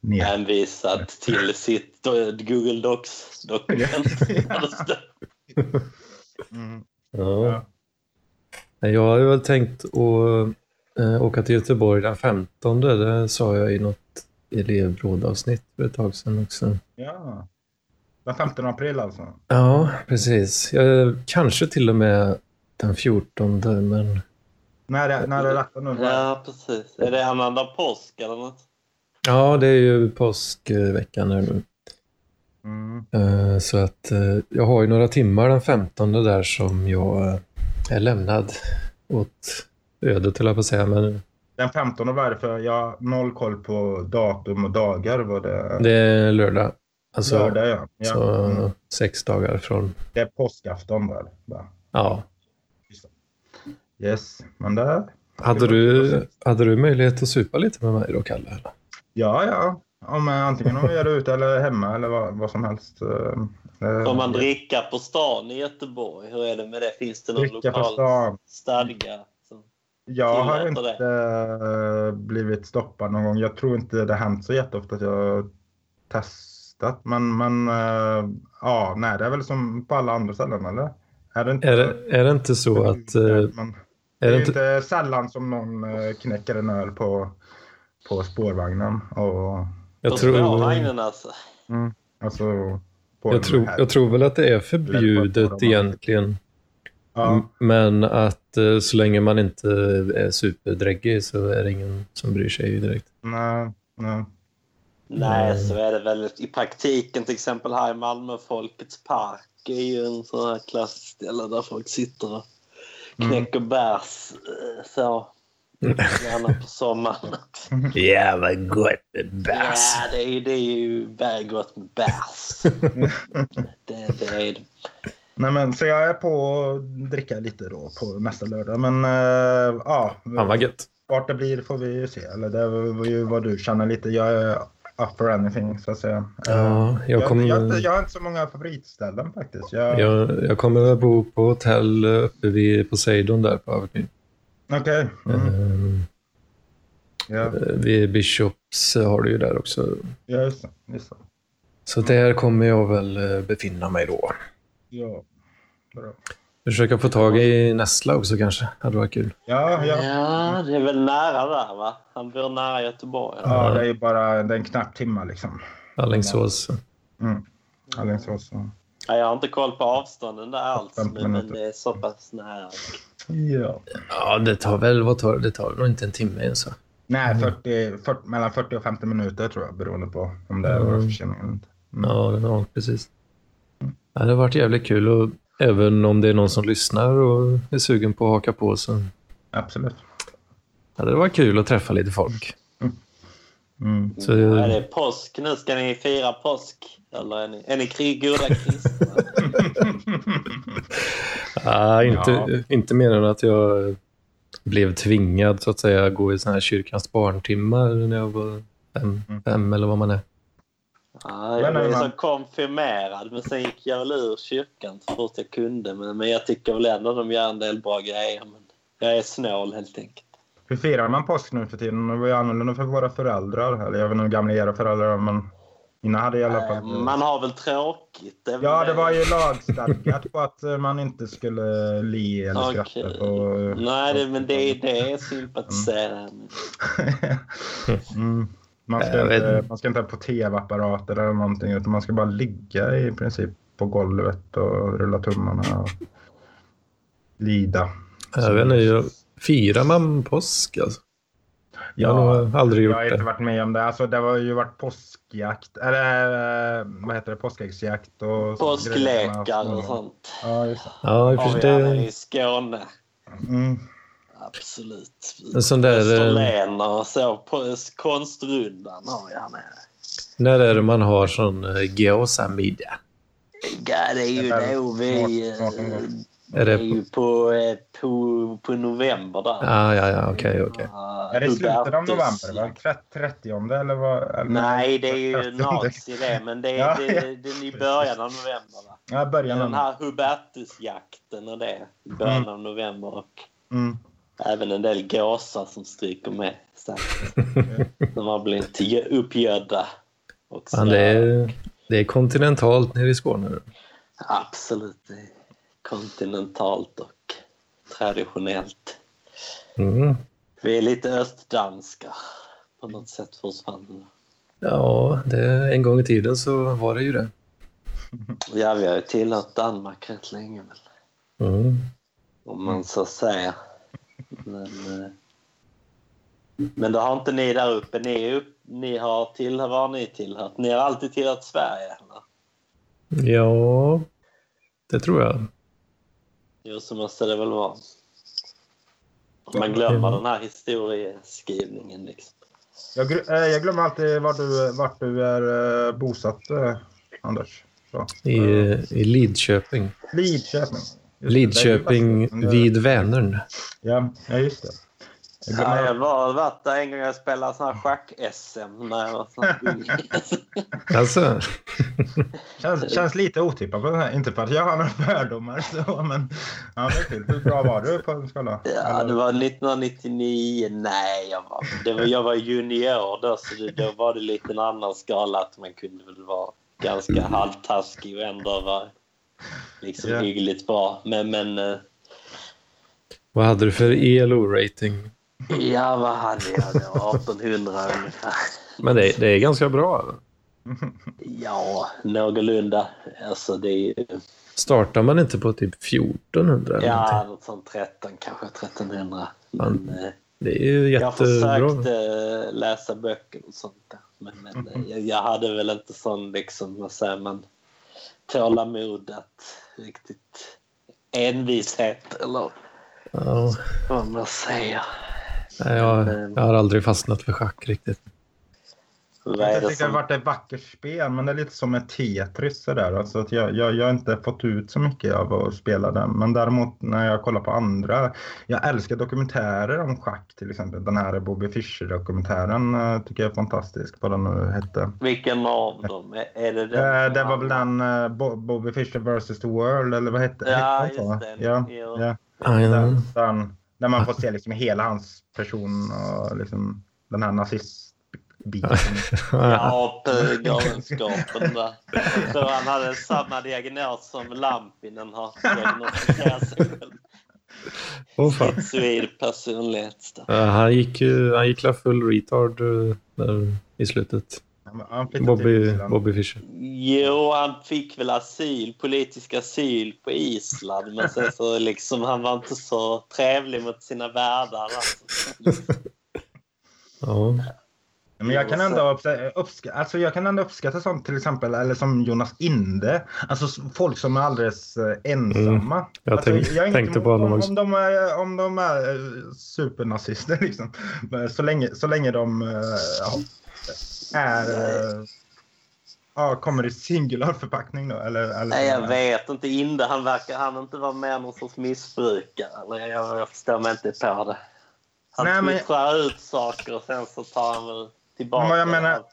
Speaker 2: ner.
Speaker 3: hänvisat till sitt eh, Google Docs-dokument.
Speaker 2: Mm.
Speaker 1: Ja.
Speaker 2: Ja.
Speaker 1: Nej, Jag har ju väl tänkt att eh, åka till Göteborg den 15. Det sa jag i något elevrådavsnitt för ett tag sedan också.
Speaker 2: Ja. Den 15 april alltså.
Speaker 1: Ja, precis. Jag, kanske till och med den 14. Men...
Speaker 2: När är, när är detta nu?
Speaker 3: Ja, precis. Är det annandag påsk eller något?
Speaker 1: Ja, det är ju påskveckan här nu.
Speaker 2: Mm.
Speaker 1: Eh, Så att eh, jag har ju några timmar den 15 där som jag eh, är lämnad åt ödet, höll jag på att säga. Men
Speaker 2: Den 15 var det för jag har noll koll på datum och dagar. Var det
Speaker 1: det är lördag. Alltså,
Speaker 2: lördag ja.
Speaker 1: Så
Speaker 2: ja. Mm.
Speaker 1: sex dagar från...
Speaker 2: Det är påskafton där. Ja.
Speaker 1: Ja.
Speaker 2: Yes, men där.
Speaker 1: Hade du, hade du möjlighet att supa lite med mig då, Kalle? eller?
Speaker 2: Ja, ja. Om, eh, antingen om vi gör det ute eller hemma eller vad, vad som helst. eh, eh,
Speaker 3: Får man dricka på stan i Göteborg? Hur är det med det? Finns det någon
Speaker 2: Dricka på
Speaker 3: lokal
Speaker 2: stan.
Speaker 3: stadga? som-
Speaker 2: Jag har
Speaker 3: tillåter
Speaker 2: inte eh, blivit stoppad någon gång. Jag tror inte det har hänt så jätteofta att jag har testat. Men, men eh, ja, nej, det är väl som på alla andra ställen eller? Är det inte,
Speaker 1: Är det, är det inte så att... eh,
Speaker 2: men, det
Speaker 1: Är
Speaker 2: är
Speaker 1: det
Speaker 2: ju
Speaker 1: inte,
Speaker 2: inte sällan som någon eh, knäcker en öl på, på spårvagnen. Och,
Speaker 3: på
Speaker 1: jag, tror,
Speaker 3: spårvagnen alltså.
Speaker 2: mm, alltså, på
Speaker 1: jag,
Speaker 2: den
Speaker 1: tror,
Speaker 2: här.
Speaker 1: jag tror väl att det är förbjudet egentligen.
Speaker 2: ja,
Speaker 1: Men att eh, så länge man inte är superdräggig så är det ingen som bryr sig direkt.
Speaker 2: nej, nej. Mm.
Speaker 3: Nej, så är det väl i praktiken. Till exempel här i Malmö, Folkets park är ju en sån här klassställe där folk sitter och
Speaker 2: Mm.
Speaker 3: knäcker bärs. eh, Så. Gärna på sommaren.
Speaker 1: Ja, vad gott med
Speaker 3: Ja, det är, det är ju väl gott med bärs. Det, det är det.
Speaker 2: Nej men så jag är på att dricka lite då på nästa lördag. Men eh, ja,
Speaker 1: Fan vad gött.
Speaker 2: vart det blir får vi ju se. Eller det var ju vad du känner lite. Jag är up for anything så att säga. Eh,
Speaker 1: Ja, jag, kommer,
Speaker 2: jag,
Speaker 1: jag,
Speaker 2: jag, jag har inte så många favoritställen faktiskt. Jag,
Speaker 1: jag, kommer väl bo på hotell uppe vid Poseidon där på Avenyn.
Speaker 2: Okej. Mm,
Speaker 1: Ehm,
Speaker 2: ja,
Speaker 1: Eh, Vid Bishops har du ju där också.
Speaker 2: ja, just det. Just det.
Speaker 1: Så där kommer jag väl eh, befinna mig då.
Speaker 2: Ja. Bra.
Speaker 1: Försöka få tag i Nessla också kanske. Hade varit kul.
Speaker 2: Ja, ja.
Speaker 3: Ja, det är väl nära där va? Han bor nära Göteborg. eller?
Speaker 2: ja, det är ju bara det är en knapp timme liksom.
Speaker 1: Alingsås.
Speaker 2: Mm. Alingsås. så-
Speaker 3: Ja, jag har inte koll på avstånden där alls, men, men
Speaker 2: minuter.
Speaker 3: det är så pass nära.
Speaker 2: Ja.
Speaker 1: Ja, det tar väl, vad tar det? Det tar nog inte en timme ens. va?
Speaker 2: Nej,
Speaker 1: Mm.
Speaker 2: 40, 40, mellan 40 och 50 minuter tror jag beroende på om det är
Speaker 1: Mm.
Speaker 2: försening eller inte.
Speaker 1: Ja, ja precis. Ja, det har varit jävligt kul. Och även om det är någon som lyssnar och är sugen på att haka på så
Speaker 2: Absolut.
Speaker 1: hade det varit kul att träffa lite folk.
Speaker 2: Mm.
Speaker 1: Så,
Speaker 3: Ja, det är påsk nu. Ska ni fira påsk? Eller är ni, är ni krig, goda kristna?
Speaker 1: ja, inte,
Speaker 2: Ja.
Speaker 1: inte mer än att jag blev tvingad så att säga att gå i såna här kyrkans barntimmar när jag var fem,
Speaker 2: Mm.
Speaker 1: fem eller vad man är.
Speaker 3: Nej, jag
Speaker 2: Men,
Speaker 3: blev
Speaker 2: men-
Speaker 3: så konfirmerad men sen gick jag väl ur kyrkan så fort jag kunde. Men, men jag tycker väl ändå de gör en del bra grejer. Men jag är snål helt enkelt.
Speaker 2: Hur firar man påsk nu för tiden? Det var ju annorlunda för våra föräldrar. Eller jag vet inte hur gamla era föräldrar är, men innan hade jag i alla
Speaker 3: Eh,
Speaker 2: fall...
Speaker 3: Man har väl tråkigt? är väl
Speaker 2: Ja, det var ju lagstadgat på att eh, man inte skulle le eller
Speaker 3: Okej.
Speaker 2: skratta. På... eh,
Speaker 3: Nej, det, men det är det jag sympatiserar med.
Speaker 2: mm. man, ska
Speaker 1: Jag vet
Speaker 2: inte,
Speaker 1: inte.
Speaker 2: man ska inte ha på tv-apparater eller någonting, utan man ska bara ligga i princip på golvet och rulla tummarna och lida.
Speaker 1: Jag vet inte, jag- firar man påsk alltså? Jag har nog aldrig
Speaker 2: Jag har
Speaker 1: gjort
Speaker 2: inte
Speaker 1: det.
Speaker 2: varit med om det. Alltså, det har ju varit påskjakt, eller eh, vad heter det, påskäggsjakt och...
Speaker 3: Påsklekar och sånt.
Speaker 2: Ja, just det.
Speaker 1: Ja, i och
Speaker 3: Har
Speaker 1: för
Speaker 3: vi
Speaker 1: sig.
Speaker 3: alla
Speaker 1: det-
Speaker 3: i Skåne.
Speaker 2: Mm.
Speaker 3: Absolut.
Speaker 1: En sån där... eh,
Speaker 3: Österlen och så. På Konstrundan har jag med.
Speaker 1: När är det man har sån eh, geosamiddag?
Speaker 3: Ja, det är ju
Speaker 2: Det är
Speaker 3: då vi...
Speaker 2: snart- snart en gång.
Speaker 3: eh,
Speaker 1: Är
Speaker 3: Det
Speaker 1: det
Speaker 3: är
Speaker 1: på...
Speaker 3: ju på, eh, på, på november där.
Speaker 1: Ah, ja, ja, okej, okej.
Speaker 3: Ah,
Speaker 2: Är det i slutet av
Speaker 3: Hubertus.
Speaker 2: november? Va? Tre- 30 eller vad? Eller?
Speaker 3: Nej, det är ju
Speaker 2: 30.
Speaker 3: nazi det, men det
Speaker 2: Ja,
Speaker 3: är, det,
Speaker 2: ja.
Speaker 3: det, det är i början av november. Va?
Speaker 2: Ja, början
Speaker 3: Den
Speaker 2: av...
Speaker 3: här Hubertusjakten och det, i början av november. Och
Speaker 2: Mm.
Speaker 3: även en del gåsar som stryker med. Så, som har blivit gö- uppgödda. Och så-
Speaker 1: Fan, det, är, det är kontinentalt nere i Skåne. nu.
Speaker 3: Absolut. det är Kontinentalt och traditionellt.
Speaker 1: Mm.
Speaker 3: Vi är lite östdanska på något sätt fortfarande.
Speaker 1: Ja, det, en gång i tiden så var det ju det.
Speaker 3: Ja, vi har ju tillhört Danmark rätt länge väl,
Speaker 1: Mm.
Speaker 3: om man så säger. Men, eh, men det har inte ni där uppe. Ni, är upp, ni har tillhört, vad har ni tillhört? Ni har alltid tillhört Sverige, eller?
Speaker 1: Ja, det tror jag.
Speaker 3: Jo, så måste det väl vara. Man glömmer den här historieskrivningen liksom.
Speaker 2: Jag, gr- eh, jag glömmer alltid vart du, vart du är eh, bosatt, eh, Anders. Så.
Speaker 1: I, eh, i Lidköping.
Speaker 2: Lidköping. Just det,
Speaker 1: Lidköping
Speaker 2: det är ju fast-
Speaker 1: vid Vänern.
Speaker 2: Ja, ja, just det. Jag
Speaker 3: Ja,
Speaker 2: glömmer-
Speaker 3: jag var varit där en gång jag spelade sån här schack-SM när jag var sån här ung.
Speaker 1: Alltså,
Speaker 3: Typ.
Speaker 2: Känns, känns lite otippat på den här. Inte för att jag har några fördomar så, men... Ja, det är kul. Hur bra var du på en skala?
Speaker 3: Ja,
Speaker 2: Eller-
Speaker 3: det var 1999. Nej, jag var, det var, jag var junior då, så det, då var det lite en annan skala. Att man kunde väl vara ganska halvtaskig och ändå vara liksom
Speaker 2: Ja.
Speaker 3: hyggligt bra. Men, men eh,
Speaker 1: vad hade du för E ELO-rating?
Speaker 3: ja, vad hade jag då? 1800 ungefär.
Speaker 1: Men det, det är ganska bra. eller?
Speaker 3: Ja, någorlunda. Alltså, det är ju...
Speaker 1: Startar man inte på typ 1400 eller
Speaker 3: Ja,
Speaker 1: någonting?
Speaker 3: något sånt 13, kanske 1300.
Speaker 1: Fan.
Speaker 3: Men, eh,
Speaker 1: Det är ju
Speaker 3: Jag
Speaker 1: jättebra.
Speaker 3: försökte eh, läsa böcker och sånt där. Men, men eh,
Speaker 2: Mm.
Speaker 3: jag, jag hade väl inte sån liksom, vad säger man, tålamod att riktigt envishet eller
Speaker 1: Ja,
Speaker 3: vad man säger.
Speaker 1: nej, jag, jag har aldrig fastnat för schack riktigt.
Speaker 3: Vad är
Speaker 2: Jag
Speaker 3: det
Speaker 2: tycker det
Speaker 3: som...
Speaker 2: har varit ett vackert spel, men det är lite som ett Tetris sådär. Alltså att jag, jag, jag har inte fått ut så mycket av att spela den. Men däremot när jag kollar på andra, jag älskar dokumentärer om schack till exempel. Den här Bobby Fischer-dokumentären eh, tycker jag är fantastisk, vad den nu hette.
Speaker 3: Vilken av dem? Är, är det den?
Speaker 2: Eh,
Speaker 3: som
Speaker 2: det var väl
Speaker 3: handlar-
Speaker 2: den eh, Bo- Bobby Fischer vs. The World, eller vad hette
Speaker 3: Ja,
Speaker 2: hette den så?
Speaker 3: just den.
Speaker 2: Ja,
Speaker 3: Jo.
Speaker 2: ja.
Speaker 1: Ja, ja.
Speaker 2: Den, den, där man får se liksom hela hans person och liksom den här nazistbiten.
Speaker 3: Ja, på galenskapen där. Jag tror han hade samma diagnos som Lampinen har diagnostiserat sig själv.
Speaker 1: Åh, fan.
Speaker 3: Schizoid personlighetsstörning.
Speaker 1: Ja, Han gick ju, han gick la full retard eh, där i slutet.
Speaker 2: Han flyttade till
Speaker 1: Bobby,
Speaker 2: Ryssland.
Speaker 1: Bobby Fischer.
Speaker 3: Jo, han fick väl asyl, politisk asyl på Island. Men sen så liksom, han var inte så trevlig mot sina värdar. Alltså.
Speaker 1: Ja.
Speaker 2: Men jag kan, ändå uppska- uppska- alltså jag kan ändå uppskatta sånt till exempel, eller som Jonas Inde. Alltså s- folk som är alldeles eh, ensamma.
Speaker 1: Mm. Jag
Speaker 2: alltså,
Speaker 1: tänk-
Speaker 2: är inte
Speaker 1: tänkte
Speaker 2: emot
Speaker 1: på honom
Speaker 2: om,
Speaker 1: också.
Speaker 2: Om de är, om de är eh, supernazister liksom. Men Så länge, så länge de eh, ja, är... eh, Ja, kommer i singularförpackning då? Eller, eller
Speaker 3: Nej, jag vet inte. Inde, han verkar han inte vara med någon sorts missbrukare. Eller jag, jag förstår mig inte på det. Han
Speaker 2: Nej, men-
Speaker 3: twittrar ut saker och sen så tar han väl tillbaka
Speaker 2: Men vad jag menar-
Speaker 3: allt.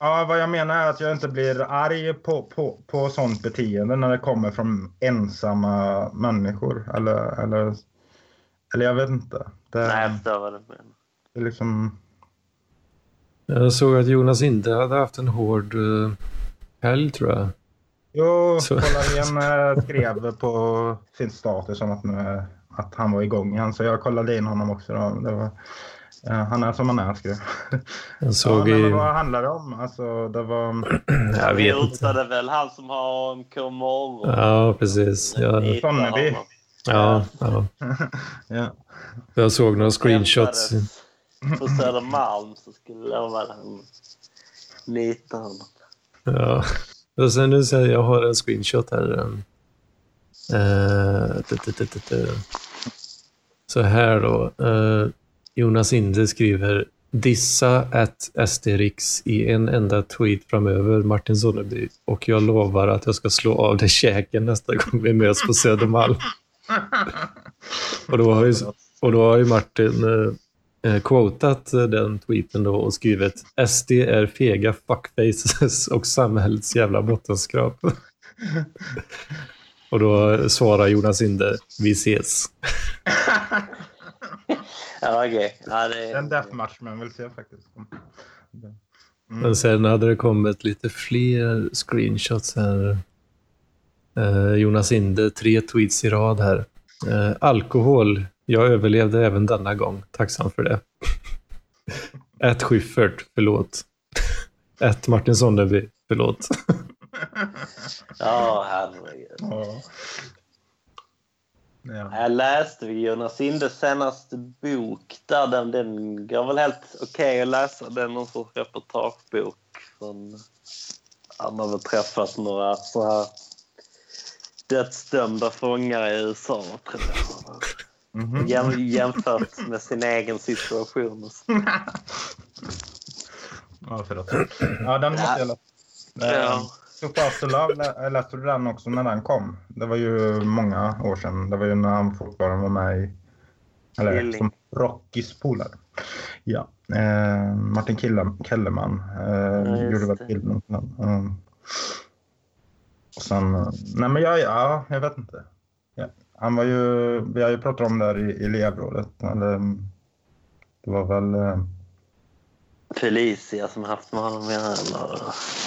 Speaker 2: Ja, vad jag menar är att jag inte blir arg på, på, på sånt beteende när det kommer från ensamma människor. Eller, eller, eller jag vet inte. Det,
Speaker 3: Nej, jag förstår vad du menar.
Speaker 2: det är liksom...
Speaker 1: Jag såg att Jonas inte hade haft en hård uh, helg, tror jag.
Speaker 2: Jo,
Speaker 1: Så-
Speaker 2: Kollagen eh, skrev på sin status om att, nu, att han var igång igen. Så jag kollade in honom också. Då. Det var, eh, han är som han är, skrev
Speaker 1: Jag
Speaker 2: ja,
Speaker 1: såg
Speaker 2: men
Speaker 1: i...
Speaker 2: Vad handlar det om? Alltså, det var...
Speaker 1: Jag
Speaker 3: Vi
Speaker 1: vet inte.
Speaker 3: hotade väl han som har AMK morgon.
Speaker 1: Ja, precis. Ja,
Speaker 3: Vi hittar
Speaker 2: Sonneby.
Speaker 3: honom. Eh,
Speaker 1: ja, ja.
Speaker 2: Ja.
Speaker 1: Jag såg några screenshots.
Speaker 3: Hämtades På Södermalm så skulle jag vara han. Nita honom.
Speaker 1: Ja. Och sen nu säger jag har en screenshot här. um, Eh, t- t- t- t- t- Så här då. Eh, Jonas Inde skriver Dissa at Asterix i en enda tweet framöver, Martin Sonneby. Och jag lovar att jag ska slå av dig käken nästa gång vi möts på Södermalm. och, då har ju, och då har ju Martin eh, eh, quotat eh, den tweeten då och skrivit SD är fega fuckfaces och samhällets jävla bottenskrap. och då svarar Jonas Inde, vi ses.
Speaker 3: Ja, okej. Ja, det
Speaker 2: Den
Speaker 3: är...
Speaker 2: deathmatch man vill se faktiskt.
Speaker 1: Men sen hade det kommit lite fler screenshots här. Eh, Jonas Inde, tre tweets i rad här. Eh, alkohol, jag överlevde även denna gång. Tacksam för det. Ät Schyffert, förlåt. Ät Martin Sonneby, förlåt.
Speaker 3: Ja, herregud.
Speaker 2: Ja. Ja.
Speaker 3: Jag läste Jonas Indes senaste bok. Där den, den går väl helt okej att läsa. Det är någon sorts reportagebok. Från, han har väl träffat några så här dödsdömda fångar i USA, tror jag.
Speaker 2: Mhm.
Speaker 3: Jäm, jämfört med sin egen situation. och så.
Speaker 2: Ja, förlåt. Ja, den måste jag läsa.
Speaker 3: Ja.
Speaker 2: Ja. Supposed to Love, lä- eh, läste du den också när den kom? Det var ju många år sedan. Det var ju när han fortfarande var med i... Eller
Speaker 3: Killing.
Speaker 2: som Rockys polare. Ja. Eh, Martin Kille- Kellerman eh,
Speaker 3: just
Speaker 2: gjorde väl
Speaker 3: det.
Speaker 2: filmen. till den. Mm. Och sen... eh, Nej, men jag, ja, jag vet inte. Ja. Han var ju... Vi har ju pratat om det här i, i elevrådet. Eller, mm, det var väl... Eh,
Speaker 3: Felicia som haft med honom att göra. eller?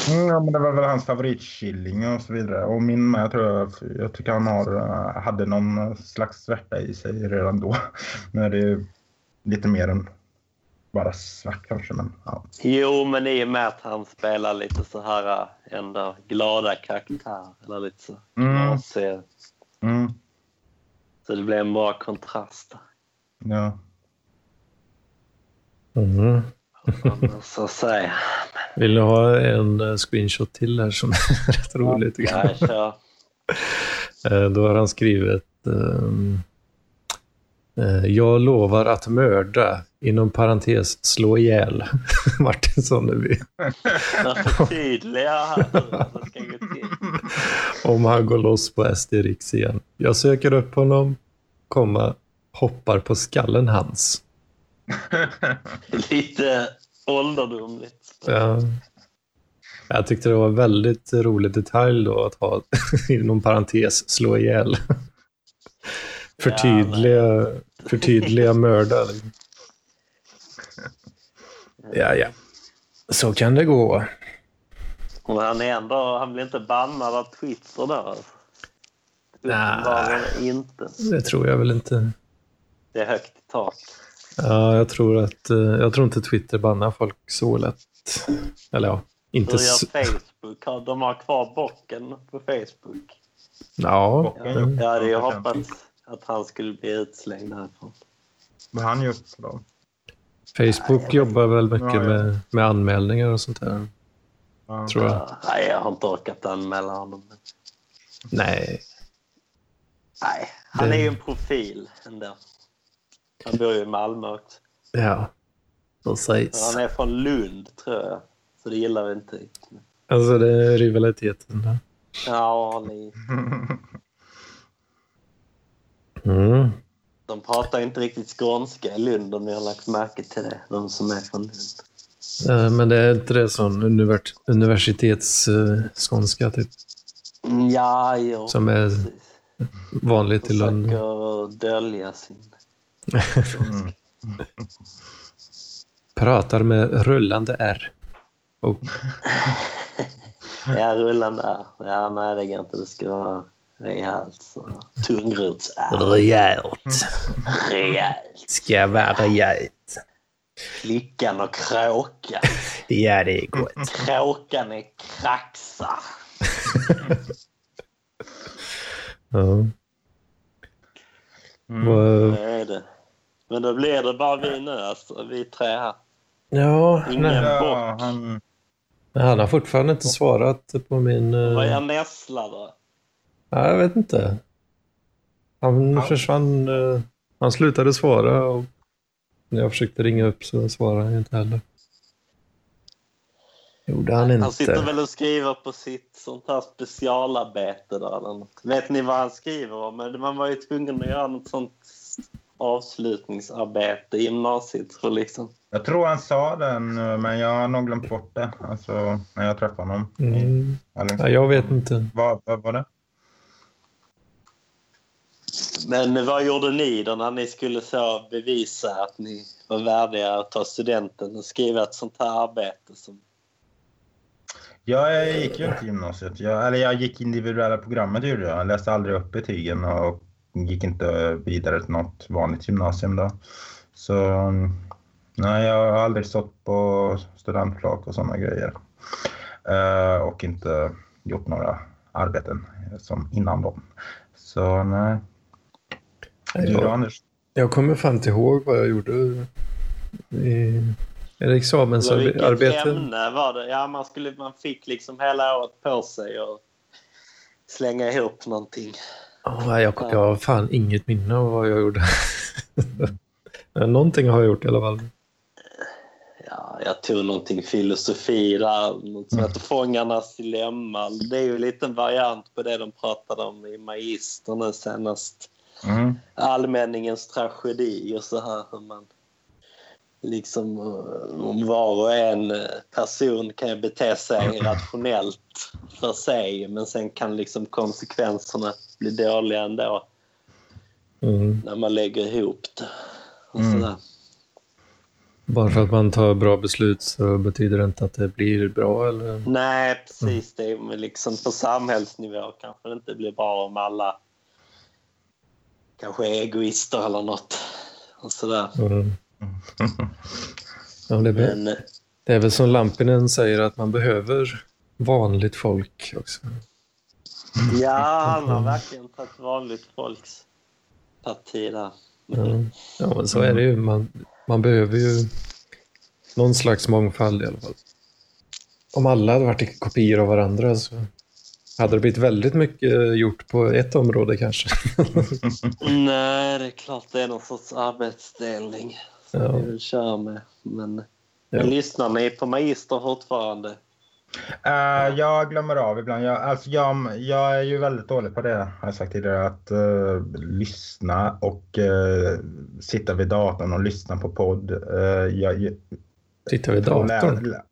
Speaker 2: Mm, Ja, men det var väl hans favoritkilling och så vidare. Och min med tror jag, jag tycker han har, eh, hade någon slags svärta i sig redan då. Nu är det ju lite mer än bara svart kanske, men ja.
Speaker 3: Jo, men i och med att han spelar lite så här äh, ändå glada karaktär. Eller lite så.
Speaker 2: Mm,
Speaker 3: Så,
Speaker 2: mm,
Speaker 3: så det blir en bra kontrast.
Speaker 2: ja.
Speaker 1: Mhm.
Speaker 3: om man Så säger
Speaker 1: Vill du ha en eh, screenshot till här som är rätt rolig? tycker jag?
Speaker 3: jag. Jag kör.
Speaker 1: Eh, Då har han skrivit ehm, eh, Jag lovar att mörda, inom parentes slå ihjäl, Martin Sonneby.
Speaker 3: Jag förtydligar här nu hur det ska gå till.
Speaker 1: Om han går loss på SD Riks igen. Jag söker upp honom, komma, hoppar på skallen hans.
Speaker 3: Lite ålderdomligt.
Speaker 1: Ja. eh, Jag tyckte det var en väldigt rolig detalj då att ha inom parentes slå ihjäl. Förtydliga, förtydliga mörda. liksom. Ja, ja. Så kan det gå.
Speaker 3: Och han, är ändå, han blir inte bannad av Twitter då? alltså.
Speaker 1: Nej.
Speaker 3: Uppenbarligen inte.
Speaker 1: Det tror jag väl inte.
Speaker 3: Det är högt i tak.
Speaker 1: Ja, jag tror att eh, jag tror inte Twitter bannar folk så lätt. Eller ja,
Speaker 3: Hur
Speaker 1: inte s-
Speaker 3: gör Facebook? Har- De har kvar bocken på Facebook.
Speaker 1: Ja,
Speaker 2: Bocken
Speaker 1: det-
Speaker 2: gjort.
Speaker 3: Jag hade ju hoppats att han skulle bli utslängd härifrån.
Speaker 2: Vad har han gjort för dem?
Speaker 1: Facebook jobbar väl
Speaker 2: Ja, ja.
Speaker 1: mycket med, med anmälningar och sånt där.
Speaker 2: Ja.
Speaker 1: Tror jag.
Speaker 3: Ja, Nej, jag har inte orkat anmäla honom. Men...
Speaker 1: Nej,
Speaker 3: Nej, han
Speaker 1: Det-
Speaker 3: är ju en profil ändå. Han bor ju i Malmö också.
Speaker 1: ja.
Speaker 3: Men
Speaker 1: Precis.
Speaker 3: han är från Lund, tror jag. Så det gillar vi inte.
Speaker 1: Alltså det är rivaliteten. där.
Speaker 3: Ja, ni...
Speaker 1: Mm.
Speaker 3: De pratar ju inte riktigt skånska i Lund om ni har lagt märke till det. De som är från Lund.
Speaker 1: Eh, Men det är inte det sån univers universitetsskånska typ,
Speaker 3: Mm, Ja, jo.
Speaker 1: som är
Speaker 3: precis.
Speaker 1: vanligt i Lund?
Speaker 3: Försöker dölja sin...
Speaker 2: Mm.
Speaker 1: Pratar med rullande R. Och
Speaker 3: Ja, rullande är. Ja, nej, det går inte. Det ska vara rejält. så. Tungruts är
Speaker 1: rejält.
Speaker 3: rejält.
Speaker 1: Ska vara rejält.
Speaker 3: Flickan och kråkan.
Speaker 1: Ja, det är gott.
Speaker 3: Kråkan är kraxa.
Speaker 1: Ja,
Speaker 2: Mm.
Speaker 1: vad-
Speaker 3: Det är det. Men då blir det bara vi nu, alltså. Vi tre här.
Speaker 1: ja nej.
Speaker 3: Ingen
Speaker 2: Ja,
Speaker 3: bock.
Speaker 2: han,
Speaker 1: Han har fortfarande inte svarat på min... eh,
Speaker 3: Vad är nässla då?
Speaker 1: Ja, jag vet inte. Han
Speaker 2: Ja.
Speaker 1: försvann. eh, Han slutade svara och när jag försökte ringa upp så svarade han ju inte heller. Gjorde han inte.
Speaker 3: Han sitter väl och skriver på sitt sånt här specialarbete där eller något. Vet ni vad han skriver om? Men Man var ju tvungen att göra något sånt avslutningsarbete i gymnasiet. Så liksom.
Speaker 2: jag tror han sa den, eh, men jag har nog glömt bort det. Alltså, när jag träffade honom.
Speaker 1: Mm. Ja, jag vet inte.
Speaker 2: Vad, vad var det?
Speaker 3: Men vad gjorde ni då när ni skulle så bevisa att ni var värdiga att ta studenten och skriva ett sånt här arbete? Som...
Speaker 2: Ja, jag gick ju inte gymnasiet. Jag, eller jag gick individuella programmet gjorde jag. Jag läste aldrig upp betygen och gick inte vidare till något vanligt gymnasium då. Så nej, jag har aldrig stått på studentflak och sådana grejer. Eh, och inte gjort några arbeten som innan dem. Så nej. Du då
Speaker 1: Jag,
Speaker 2: Anders?
Speaker 1: jag kommer fan inte ihåg vad jag gjorde. I, är det
Speaker 3: Eller vilket
Speaker 1: examensarbete?
Speaker 3: ämne var det? Ja, man, skulle, man fick liksom hela året på sig att slänga ihop någonting.
Speaker 1: Oh, jag, jag har fan inget minne av vad jag gjorde. Men Någonting har jag gjort i alla fall.
Speaker 3: Ja, jag tog någonting filosofi där, något som heter Fångarnas dilemma. Det är ju en liten variant på det de pratade om i Magister nu senast.
Speaker 2: Mm.
Speaker 3: Allmänningens tragedi och så här hur man liksom eh, om var och en eh, person kan ju bete sig rationellt för sig men sen kan liksom konsekvenserna bli dåliga ändå
Speaker 1: Mm.
Speaker 3: när man lägger ihop det. Och
Speaker 2: Mm.
Speaker 3: sådär.
Speaker 1: Bara för att man tar bra beslut så betyder det inte att det blir bra eller?
Speaker 3: Nej, precis. Det är men liksom på samhällsnivå kanske det inte blir bra om alla kanske är egoister eller något. Och sådär.
Speaker 1: Mm. Ja, det, be-
Speaker 3: Men eh,
Speaker 1: det är väl som Lampinen säger att man behöver vanligt folk också.
Speaker 3: ja, han har verkligen tagit vanligt folks parti där.
Speaker 1: Ja, ja men så är det ju. Man, man behöver ju någon slags mångfald i alla fall. Om alla hade varit kopior av varandra så hade det blivit väldigt mycket eh, gjort på ett område kanske.
Speaker 3: Nej, det är klart det är någon sorts arbetsdelning som
Speaker 1: Ja.
Speaker 3: vi vill köra med. Men,
Speaker 1: Ja.
Speaker 3: men lyssnar ni på Magister fortfarande?
Speaker 2: Eh, jag glömmer av ibland. Jag, alltså jag, jag är ju väldigt dålig på det, har jag sagt tidigare, att eh, lyssna och eh, sitta vid datorn och lyssna på podd. Eh, jag, jag,
Speaker 1: Tittar vi i datorn.
Speaker 2: lä- lä-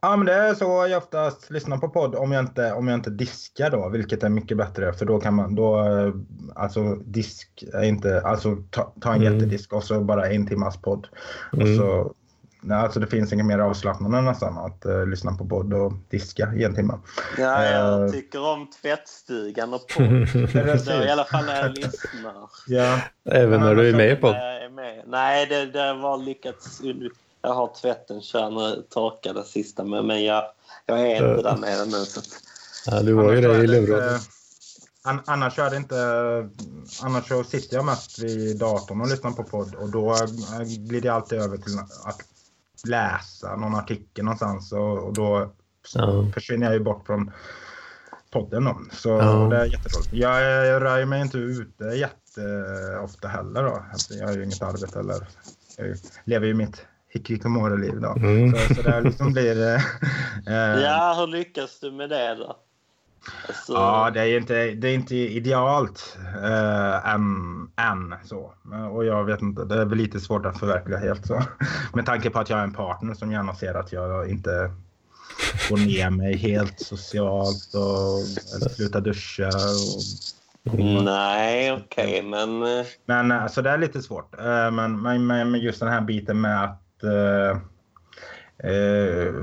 Speaker 2: Ja, men det är så jag oftast lyssnar på podd om jag inte, om jag inte diskar då, vilket är mycket bättre för då kan man då, eh, alltså disk är inte, alltså ta, ta en
Speaker 1: Mm.
Speaker 2: jättedisk och så bara en timmas podd. Och
Speaker 1: Mm.
Speaker 2: så, nej, alltså det finns inget mer avslappnande nästan att eh, lyssna på podd och diska i en timme.
Speaker 3: Ja,
Speaker 2: Eh.
Speaker 3: jag tycker om tvättstugan och på.
Speaker 2: Precis.
Speaker 3: Det är I alla fall när jag lyssnar.
Speaker 2: Ja.
Speaker 1: Även när du är med på
Speaker 3: Nej, jag är med. Nej, det, det var lyckats. und- Jag har tvätten körd torkad den sista, men, men jag, jag är inte där nere nu. Så. att-
Speaker 1: ja, Du var ju det i lurådet.
Speaker 2: An- annars är det inte... Annars så sitter jag mest vid datorn och lyssnar på podd och då eh, glider jag alltid över till att läsa någon artikel någonstans och, och då
Speaker 1: Ja.
Speaker 2: försvinner jag ju bort från podden då. Så
Speaker 1: Ja.
Speaker 2: det är jätteroligt. Jag, jag rör mig inte ute jätteofta heller då. Alltså, Jag har ju inget arbete eller jag lever ju mitt hikikomori-liv då.
Speaker 1: Mm.
Speaker 2: Så, så det liksom blir... eh, eh,
Speaker 3: Ja, hur lyckas du med det då? Alltså,
Speaker 2: Ja, det är inte, det är inte idealt eh, än, än så. Men- Och jag vet inte, det är väl lite svårt att förverkliga helt så. Med tanke på att jag är en partner som gärna ser att jag inte går ner mig helt socialt och eller slutar duscha. Och,
Speaker 3: Mm. Nej, okej, men... eh,
Speaker 2: men eh, så det är lite svårt. Eh, men, men, men men just den här biten med att eh, eh,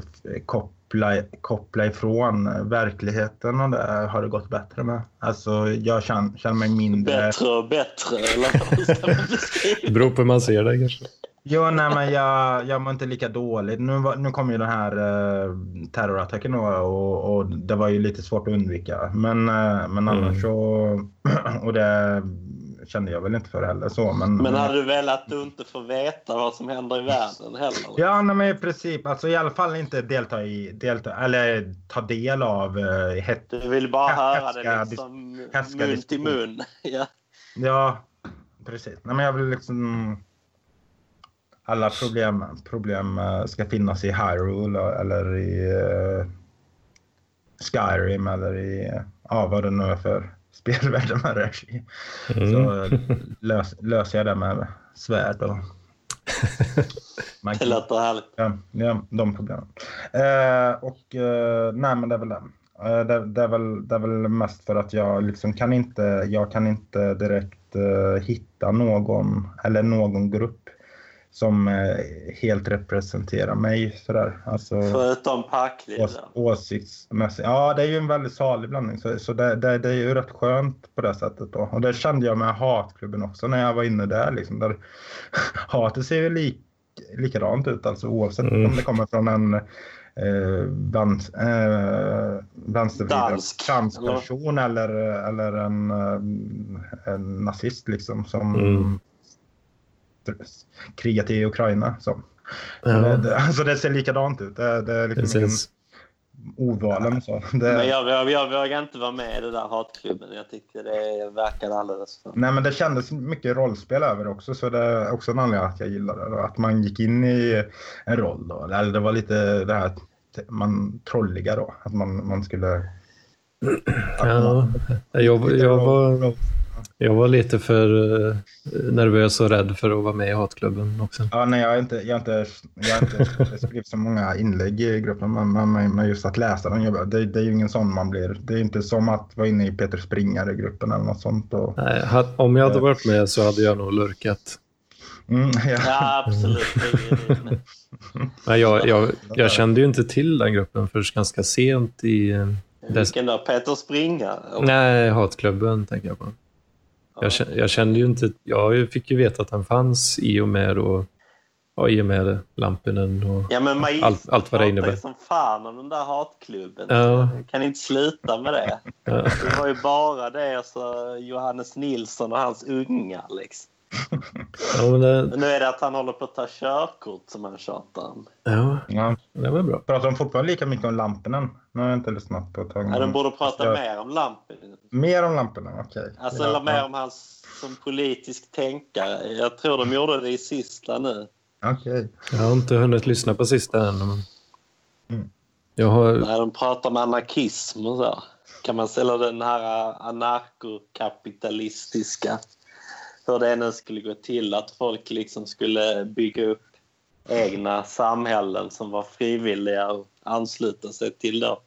Speaker 2: koppla, koppla ifrån verkligheten och det har det gått bättre med. Alltså jag känner, känner mig mindre...
Speaker 3: Bättre och bättre, eller hur ska man beskriva
Speaker 1: Det beror på hur man ser det kanske.
Speaker 2: Jo, nej, men jag, jag mår inte lika dåligt. Nu, var- nu kom ju den här eh, terrorattacken då, och, och det var ju lite svårt att undvika. Men, eh, men annars
Speaker 1: Mm.
Speaker 2: så... Och det kände jag väl inte för heller så. Men,
Speaker 3: Men hade du velat att du inte får veta vad som händer i världen heller?
Speaker 2: Ja, nej, men i princip. Alltså i alla fall inte delta i, delta, eller ta del av eh, hett.
Speaker 3: Du vill bara
Speaker 2: Här- här
Speaker 3: höra
Speaker 2: ska
Speaker 3: det
Speaker 2: jag
Speaker 3: liksom
Speaker 2: här ska jag
Speaker 3: mun till mun. Ja.
Speaker 2: Ja, precis. Nej, men jag vill liksom... Alla problem, problem eh, ska finnas i Hyrule eh, eller i eh, Skyrim eller i eh, ja, vad det nu är för spelvärld de här rör sig i. Så eh, lös, löser jag det med svärd och... Man
Speaker 3: Det låter härligt.
Speaker 2: Ja, ja de problemen. Eh, och eh, nej, men det är väl det. Eh, det, det, är väl, det är väl mest för att jag liksom kan inte, jag kan inte direkt eh, hitta någon eller någon grupp som eh, helt representerar mig sådär. Alltså,
Speaker 3: Förutom parkliv.
Speaker 2: ås,
Speaker 1: Liksom.
Speaker 3: då.
Speaker 2: åsiktsmässigt. Ja, det är ju en väldigt salig blandning. Så, så det, det, det är ju rätt skönt på det sättet. Då. Och det kände jag med hatklubben också när jag var inne där. Liksom, där hatet ser ju lik, likadant ut, alltså, oavsett
Speaker 1: Mm.
Speaker 2: om det kommer från en eh, vans, eh, vänstervriden
Speaker 3: Dansk,
Speaker 2: transperson eller, eller en, eh, en nazist liksom, som
Speaker 1: Mm.
Speaker 2: krigat i Ukraina. Så. Det,
Speaker 1: Ja,
Speaker 2: det, alltså det ser likadant ut. Det, det är liksom ingen-
Speaker 1: precis.
Speaker 2: ordvalen och så. Det,
Speaker 3: Men jag, jag, jag vågar inte vara med i den där hatklubben. Jag tyckte det verkade alldeles för...
Speaker 2: Nej men det kändes mycket rollspel över det också så det är också en anledning att jag gillar det. Att man gick in i en roll då. Eller det var lite det här att man trolliga då. Att man, man skulle...
Speaker 1: Ja. Jag, jag, var, jag var lite för eh, nervös och rädd för att vara med i hatklubben också.
Speaker 2: Ja, nej, jag har inte, jag har inte, jag har inte skrivit så många inlägg i gruppen, men, men, men- men just att läsa den, jag bara, det, det är ju ingen sån man blir. Det är inte som att vara inne i Peter Springare-gruppen eller något sånt. Och,
Speaker 1: Nej, ha- om jag hade varit med så hade jag nog lurkat.
Speaker 2: mm, ja.
Speaker 3: Ja, absolut. Det är ju-
Speaker 1: Men jag, jag, jag kände ju inte till den gruppen förrän ganska sent i... eh, dess-
Speaker 3: Vilken då? Peter Springa?
Speaker 1: Nej, hatklubben tänker jag på. Jag kände, jag kände ju inte... Jag fick ju veta att den fanns i och med då... Ja, i och med Lampinen och...
Speaker 3: Ja, men Magistern
Speaker 1: Allt- allt vad det
Speaker 3: pratar ju
Speaker 1: innebär.
Speaker 3: som fan om den där hatklubben.
Speaker 1: Ja.
Speaker 3: Jag kan inte sluta med det.
Speaker 1: Ja.
Speaker 3: Det var ju bara det alltså, Johannes Nilsson och hans unga. Liksom.
Speaker 1: Ja, men det,
Speaker 3: Men nu är det att han håller på att ta körkort som han tjatar om.
Speaker 1: ja,
Speaker 2: Ja.
Speaker 1: det var bra.
Speaker 2: Pratar de fortfarande lika mycket om lamporna? Nu har jag inte lyssnat på ett tag.
Speaker 3: Ja, de borde prata
Speaker 2: Ja.
Speaker 1: Mm.
Speaker 3: mer om Lampinen.
Speaker 2: Mer om lamporna, okej.
Speaker 3: Alltså,
Speaker 2: Ja,
Speaker 3: eller mer
Speaker 2: ja.
Speaker 3: om hans som politisk tänkare. Jag tror de gjorde det i sista nu.
Speaker 2: Okej.
Speaker 1: Jag har inte hunnit lyssna på sista än. Men...
Speaker 2: Mm.
Speaker 1: Jag har...
Speaker 3: När de pratar om anarkism och så. Kan man ställa den här eh, anarkokapitalistiska... Hur det nu skulle gå till. Att folk liksom skulle bygga upp egna samhällen som var frivilliga och ansluta sig till då.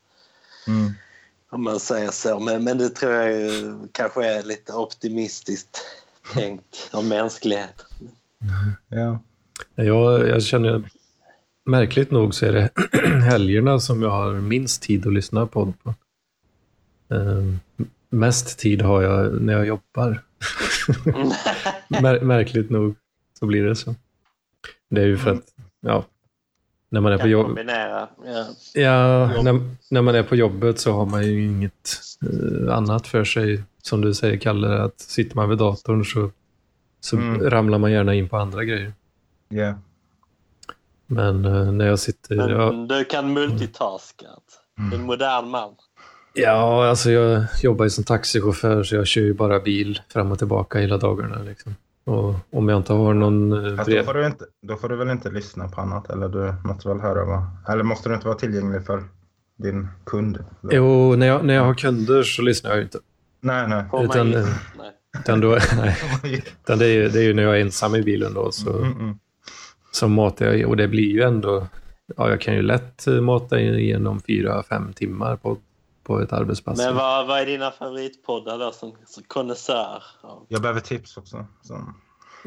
Speaker 2: Mm.
Speaker 3: Om man säger så. Men, men det tror jag ju, kanske är lite optimistiskt tänkt om mänskligheten.
Speaker 2: Ja.
Speaker 1: Jag, jag känner... Märkligt nog så är det helgerna som jag har minst tid att lyssna på. på. Ehm, mest tid har jag när jag jobbar. Mär, märkligt nog så blir det så. Det är ju för att... Ja, när man är på
Speaker 3: Kan
Speaker 1: jobb...
Speaker 3: kombinera. Ja.
Speaker 1: Ja,
Speaker 2: Jobb.
Speaker 1: när, när man är på jobbet så har man ju inget eh, annat för sig. Som du säger, Kalle, att sitter man vid datorn så, så
Speaker 2: Mm.
Speaker 1: ramlar man gärna in på andra grejer.
Speaker 2: Ja.
Speaker 1: Men eh, när jag sitter...
Speaker 3: Men
Speaker 1: Ja,
Speaker 3: du kan multitaska. Du är en modern man.
Speaker 1: ja, alltså jag jobbar ju som taxichaufför så jag kör ju bara bil fram och tillbaka hela dagarna. Liksom. Och om jag inte har någon... eh,
Speaker 2: Fast då,
Speaker 1: brev-
Speaker 2: får du inte, då får du väl inte lyssna på annat? Eller du måste väl höra vad... Eller måste du inte vara tillgänglig för din kund? eller?
Speaker 1: Jo, när jag, när jag har kunder så lyssnar jag ju inte.
Speaker 2: Nej, nej.
Speaker 3: Får man
Speaker 1: Utan-
Speaker 3: in? Nej.
Speaker 1: Utan, då, nej, utan det, är ju, det är ju när jag är ensam i bilen då så,
Speaker 2: Mm, mm.
Speaker 1: så matar jag i- Och det blir ju ändå... Ja, jag kan ju lätt eh, mata igenom fyra, fem timmar på, på ett arbetspass.
Speaker 3: Men vad, vad är dina favoritpoddar då som, som konnässör? Ja.
Speaker 2: Jag behöver tips också. Så.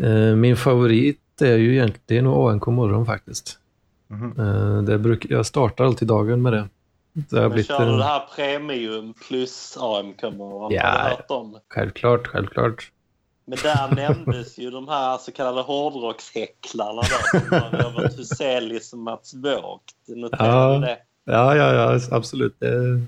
Speaker 1: Eh, Min favorit är ju egentligen... Det är nog ANK morgon faktiskt.
Speaker 2: Mhm.
Speaker 1: Eh, Det bruk, jag startar alltid dagen med det. Det har
Speaker 3: Men
Speaker 1: blivit
Speaker 3: kör du
Speaker 1: en,
Speaker 3: det här premium plus AMK-morgon?
Speaker 1: Ja.
Speaker 3: Har du hört om? det?
Speaker 1: självklart, självklart.
Speaker 3: Men där nämndes ju de här så kallade hårdrockshäcklarna då. som var Robert Huselius och liksom Mats Båg. Du noterade
Speaker 1: Ja.
Speaker 3: det?
Speaker 1: Ja, ja, ja, absolut. Det-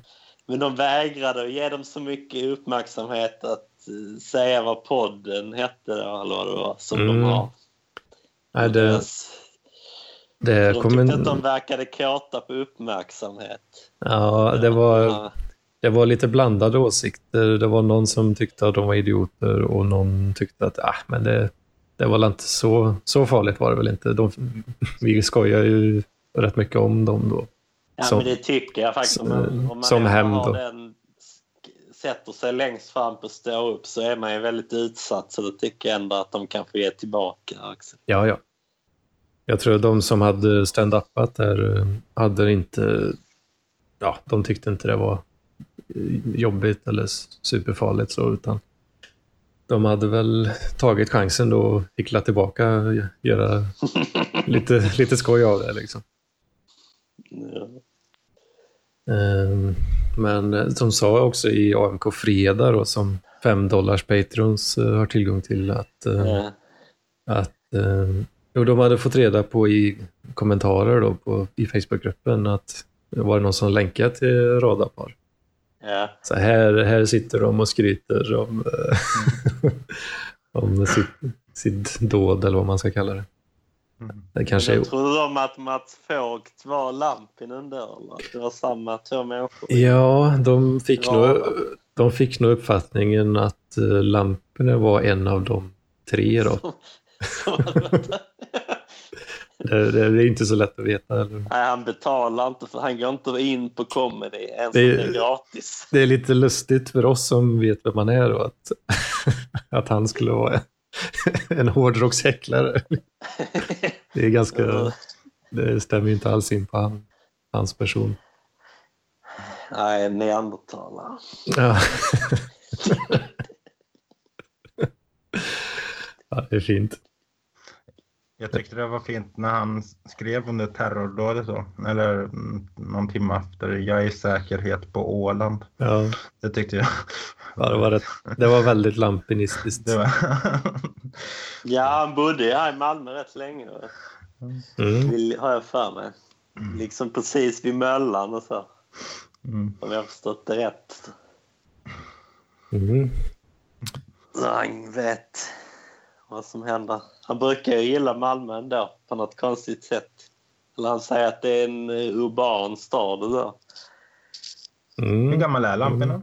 Speaker 3: Men de vägrade att ge dem så mycket uppmärksamhet att eh, säga vad podden hette då, eller vad det var som
Speaker 1: Mm.
Speaker 3: de har.
Speaker 1: Nej, det,
Speaker 3: Deras-
Speaker 1: det
Speaker 3: de
Speaker 1: kom
Speaker 3: tyckte att
Speaker 1: en,
Speaker 3: de verkade kåta på uppmärksamhet.
Speaker 1: ja, det var,
Speaker 3: Ja.
Speaker 1: det var lite blandade åsikter. Det var någon som tyckte att de var idioter och någon tyckte att ah, men det, det var väl inte så, så farligt var det väl inte. De, vi skojar ju rätt mycket om dem då.
Speaker 3: Ja,
Speaker 1: Som-
Speaker 3: men det tycker jag faktiskt. Om man, om man
Speaker 1: som
Speaker 3: ändå
Speaker 1: hämnd
Speaker 3: har
Speaker 1: då.
Speaker 3: den, sk- sätter sig längst fram på stå upp så är man ju väldigt utsatt. Så då tycker jag ändå att de kan få ge tillbaka också.
Speaker 1: Ja, ja. Jag tror de som hade stand-upat där eh, hade inte... Ja, de tyckte inte det var eh, jobbigt eller s- superfarligt så, utan de hade väl tagit chansen då och hicklat tillbaka och gö- göra lite, lite skoj av det liksom.
Speaker 3: Ja.
Speaker 1: Ehm, Men eh, som sa också i AMK Fredag då, som 5 dollars patrons eh, har tillgång till att eh,
Speaker 3: Ja.
Speaker 1: att eh, jo, de hade fått reda på i kommentarer då på, i Facebookgruppen att det var någon som länkade till radarpar.
Speaker 3: Ja.
Speaker 1: Så här, här sitter de och skryter om, eh, om sitt, sitt dåd eller vad man ska kalla det.
Speaker 2: Mm.
Speaker 1: Det kanske är...
Speaker 3: Men Trodde de att Mats Fågt var Lampinen då? Eller? att Det var samma två människor?
Speaker 1: Ja, de fick,
Speaker 3: Ja.
Speaker 1: nog, de fick nog uppfattningen att eh, Lampinen var en av de tre. Då.
Speaker 3: Som hade varit där.
Speaker 1: Det, det är inte så lätt att veta. Eller?
Speaker 3: Nej, han betalar inte. För han går inte in på comedy ens om
Speaker 1: Det är-
Speaker 3: det är gratis.
Speaker 1: Det är lite lustigt för oss som vet vem man är då, att, att han skulle vara en hårdrockshäcklare. Det är ganska, det stämmer ju inte alls in på han, hans person.
Speaker 3: Nej, neandertalare.
Speaker 1: Ja. ja, det är fint.
Speaker 2: Jag tyckte det var fint när han skrev under terrordådet då, eller mm, någon timme efter. Jag är i säkerhet på Åland.
Speaker 1: Ja,
Speaker 2: Det tyckte jag.
Speaker 1: ja, det, var rätt, det var väldigt lampinistiskt.
Speaker 2: Det var...
Speaker 3: Ja, han bodde ju här i Malmö rätt länge.
Speaker 1: Mm.
Speaker 3: Vill, har jag för mig. Liksom precis vid Möllan och så.
Speaker 2: Mm.
Speaker 3: Om jag har förstått det rätt.
Speaker 1: Mm.
Speaker 3: Så han vet vad som händer. Han brukar ju gilla Malmö ändå på något konstigt sätt. Eller han säger att det är en eh, urban stad och så.
Speaker 2: Hur
Speaker 1: Mm.
Speaker 2: gammal är lamporna?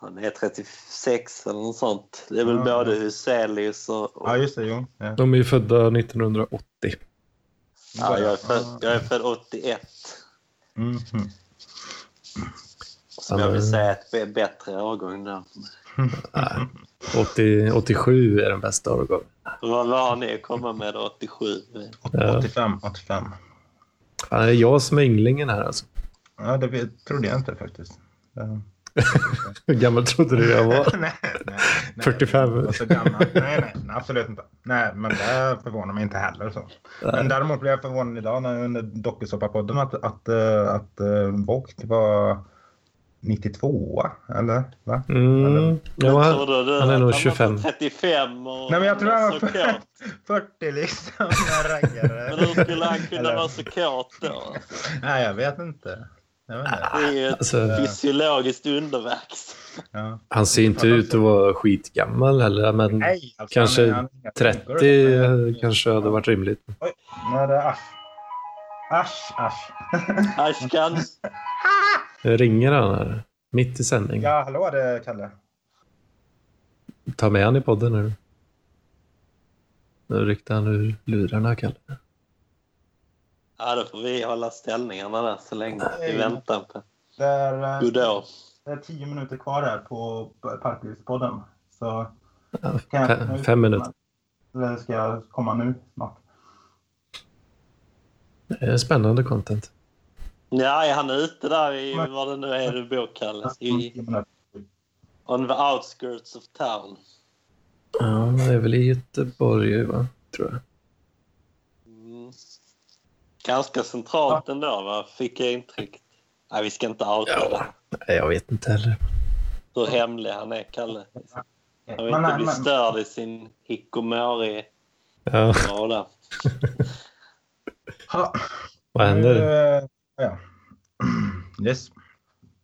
Speaker 3: Han är 36 eller något sånt. Det är väl
Speaker 2: Ja.
Speaker 3: både Huselius och... och
Speaker 2: Ja, just det. Jo. Ja.
Speaker 1: De är ju födda 1980.
Speaker 3: ja, jag, är född, jag är född 81.
Speaker 2: Mm. mm.
Speaker 3: Som
Speaker 1: Ja,
Speaker 3: jag vill
Speaker 1: men-
Speaker 3: säga är ett b- bättre årgång då.
Speaker 2: Mm.
Speaker 1: 80, 87 Äh, är den bästa årgången.
Speaker 3: Vad vad har ni att komma med då, 87?
Speaker 1: Ja.
Speaker 2: 85, 85.
Speaker 1: Fan, det är jag som är ynglingen här alltså.
Speaker 2: Ja, det vet- trodde jag inte faktiskt. Ja.
Speaker 1: Hur gammal trodde du jag var?
Speaker 2: nej, nej, nej.
Speaker 1: 45.
Speaker 2: Jag var så gammal. Nej, nej, nej, absolut inte. Nej, men det förvånar mig inte heller. Så. Men däremot blev jag förvånad idag när under dokusåpapodden att, att, eh, att eh, Vogt var 92 eller? Va?
Speaker 1: Mm. Ja,
Speaker 3: Men
Speaker 1: han,
Speaker 3: tror du
Speaker 1: han är
Speaker 3: att
Speaker 1: nog
Speaker 3: var
Speaker 1: 25.
Speaker 3: 35 och
Speaker 2: Nej, men jag tror
Speaker 3: var
Speaker 2: han
Speaker 3: så
Speaker 2: var
Speaker 3: kåt.
Speaker 2: 40 liksom. när raggare.
Speaker 3: Men hur skulle han kunna
Speaker 2: Eller-
Speaker 3: vara så kåt då?
Speaker 2: Nej, jag vet inte. Jag vet inte.
Speaker 3: Det är ju ett
Speaker 1: alltså,
Speaker 3: fysiologiskt underverk.
Speaker 2: Ja.
Speaker 1: han ser inte ut att vara skitgammal heller, men
Speaker 2: Nej, alltså,
Speaker 1: Kanske
Speaker 2: han är- han är-
Speaker 1: 30 kanske hade varit rimligt.
Speaker 2: Oj, nu är det asch. Asch, asch.
Speaker 3: Ashkan,
Speaker 1: Ringer han här? Mitt i sändning.
Speaker 2: Ja, hallå det är Kalle.
Speaker 1: Ta med han i podden nu. Nu ryckte han ur lurarna, Kalle.
Speaker 3: Ja, då får vi hålla ställningarna där så länge
Speaker 2: Nej.
Speaker 3: i väntan på
Speaker 2: Det är, eh,
Speaker 3: Godot.
Speaker 2: det är tio minuter kvar här på Parklivspodden. Så
Speaker 1: Ja,
Speaker 2: kan jag-
Speaker 1: fem- Fem minuter.
Speaker 2: Eller ska jag komma nu snart?
Speaker 1: Eh, Spännande content.
Speaker 3: Nej, han är ute där i vad det nu är du bor, Kalle. I,
Speaker 2: Tio minuter.
Speaker 3: on the outskirts of town.
Speaker 1: Ja, det är väl i Göteborg, va? Tror jag.
Speaker 3: Mm. Ganska centralt ändå, va? fick jag intryck. Nej, vi ska inte outa det.
Speaker 1: Nej, jag vet inte heller.
Speaker 3: Hur hemlig han är, Kalle. Han vill
Speaker 2: Men,
Speaker 3: inte
Speaker 2: men,
Speaker 3: bli störd i sin hikomori-låda.
Speaker 1: Ja,
Speaker 2: ha,
Speaker 1: vad händer?
Speaker 2: nu, eh, Ja. Yes.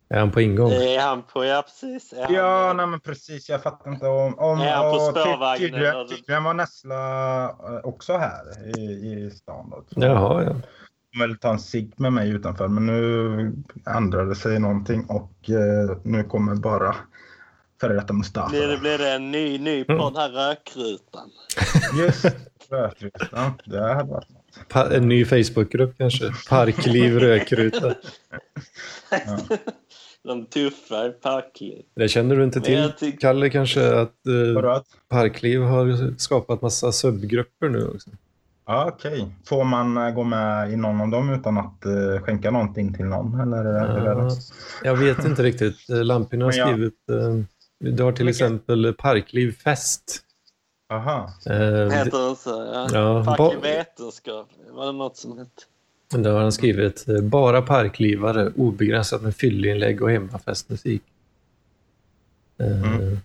Speaker 1: Är han på ingång?
Speaker 3: Är han på... Ja, precis. Är han,
Speaker 2: Ja, nej, men precis. Jag fattar inte om... om
Speaker 3: Är han på
Speaker 2: och ty-
Speaker 3: spårvagnen
Speaker 2: Tydligen,
Speaker 3: eller-
Speaker 2: tydligen var Nessla eh, också här i, i stan. Då, tror jag.
Speaker 1: Jaha, ja.
Speaker 2: Han ville ta en cigg med mig utanför, men nu ändrade sig någonting och eh, nu kommer bara före detta Mustafa.
Speaker 3: blir, det, blir det en ny, ny på den här rökrutan?
Speaker 2: Just rökrutan. Det hade varit något.
Speaker 1: Pa- en ny Facebookgrupp kanske? Parkliv rökruta.
Speaker 2: Ja.
Speaker 3: De tuffa i parkliv.
Speaker 1: Det känner du inte
Speaker 3: Men jag
Speaker 1: till,
Speaker 3: tyck-
Speaker 1: Kalle, kanske att eh,
Speaker 2: Röt.
Speaker 1: Parkliv har skapat massa subgrupper nu också.
Speaker 2: Ja, okej. Får man eh, gå med i någon av dem utan att eh, skänka någonting till någon? Eller, eller?
Speaker 1: Ja, jag vet inte riktigt. Eh, Lampinen har
Speaker 2: Men jag-
Speaker 1: skrivit... Eh, du har till
Speaker 2: Mycket.
Speaker 1: exempel Parkliv Fest.
Speaker 2: Aha.
Speaker 1: Eh,
Speaker 3: Heter den så? Ja.
Speaker 1: Ja,
Speaker 3: Fack i
Speaker 1: ba-
Speaker 3: vetenskap. Var det något som hette?
Speaker 1: det har han skrivit. eh, Bara parklivare, obegränsat med fyllinlägg och hemmafestmusik. Eh,
Speaker 2: Mm.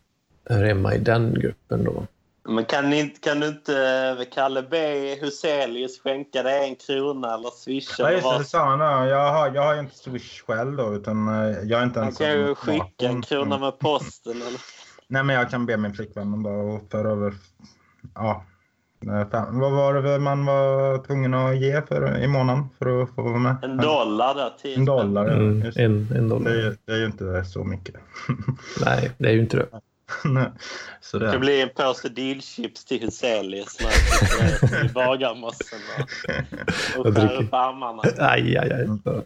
Speaker 1: Hör hemma i den gruppen då.
Speaker 3: Men kan, ni, inte- kan du inte eh, Kalle B Huselius skänka dig en krona eller swisha?
Speaker 2: Ja,
Speaker 3: eller
Speaker 2: just det,
Speaker 3: vad
Speaker 2: det sa han. ja. Jag har, jag har ju inte Swish själv då, utan eh, jag är inte
Speaker 3: Han
Speaker 2: ens...
Speaker 3: kan ju skicka
Speaker 2: Mm.
Speaker 3: en krona med posten. Eller?
Speaker 2: Nej, men jag kan be min flickvän bara att föra över... Ja. eh, Fem. Vad var det man var tvungen att ge för, i månaden för att få vara med?
Speaker 3: En dollar där. typ. tio
Speaker 2: Mm. En dollar, ja.
Speaker 1: Mm,
Speaker 2: Just. det.
Speaker 1: en, en
Speaker 2: Det, är,
Speaker 1: dollar.
Speaker 2: ju- det är ju inte så mycket.
Speaker 1: Nej, det är ju inte det.
Speaker 2: Nej. så
Speaker 3: Det
Speaker 2: det...
Speaker 3: ska bli en påse dillchips till Huselius när han sitter i bagarmossen och,
Speaker 1: Jag
Speaker 3: och skär
Speaker 1: dricker.
Speaker 3: upp armarna.
Speaker 1: Aj, aj,
Speaker 2: Mm.
Speaker 1: aj.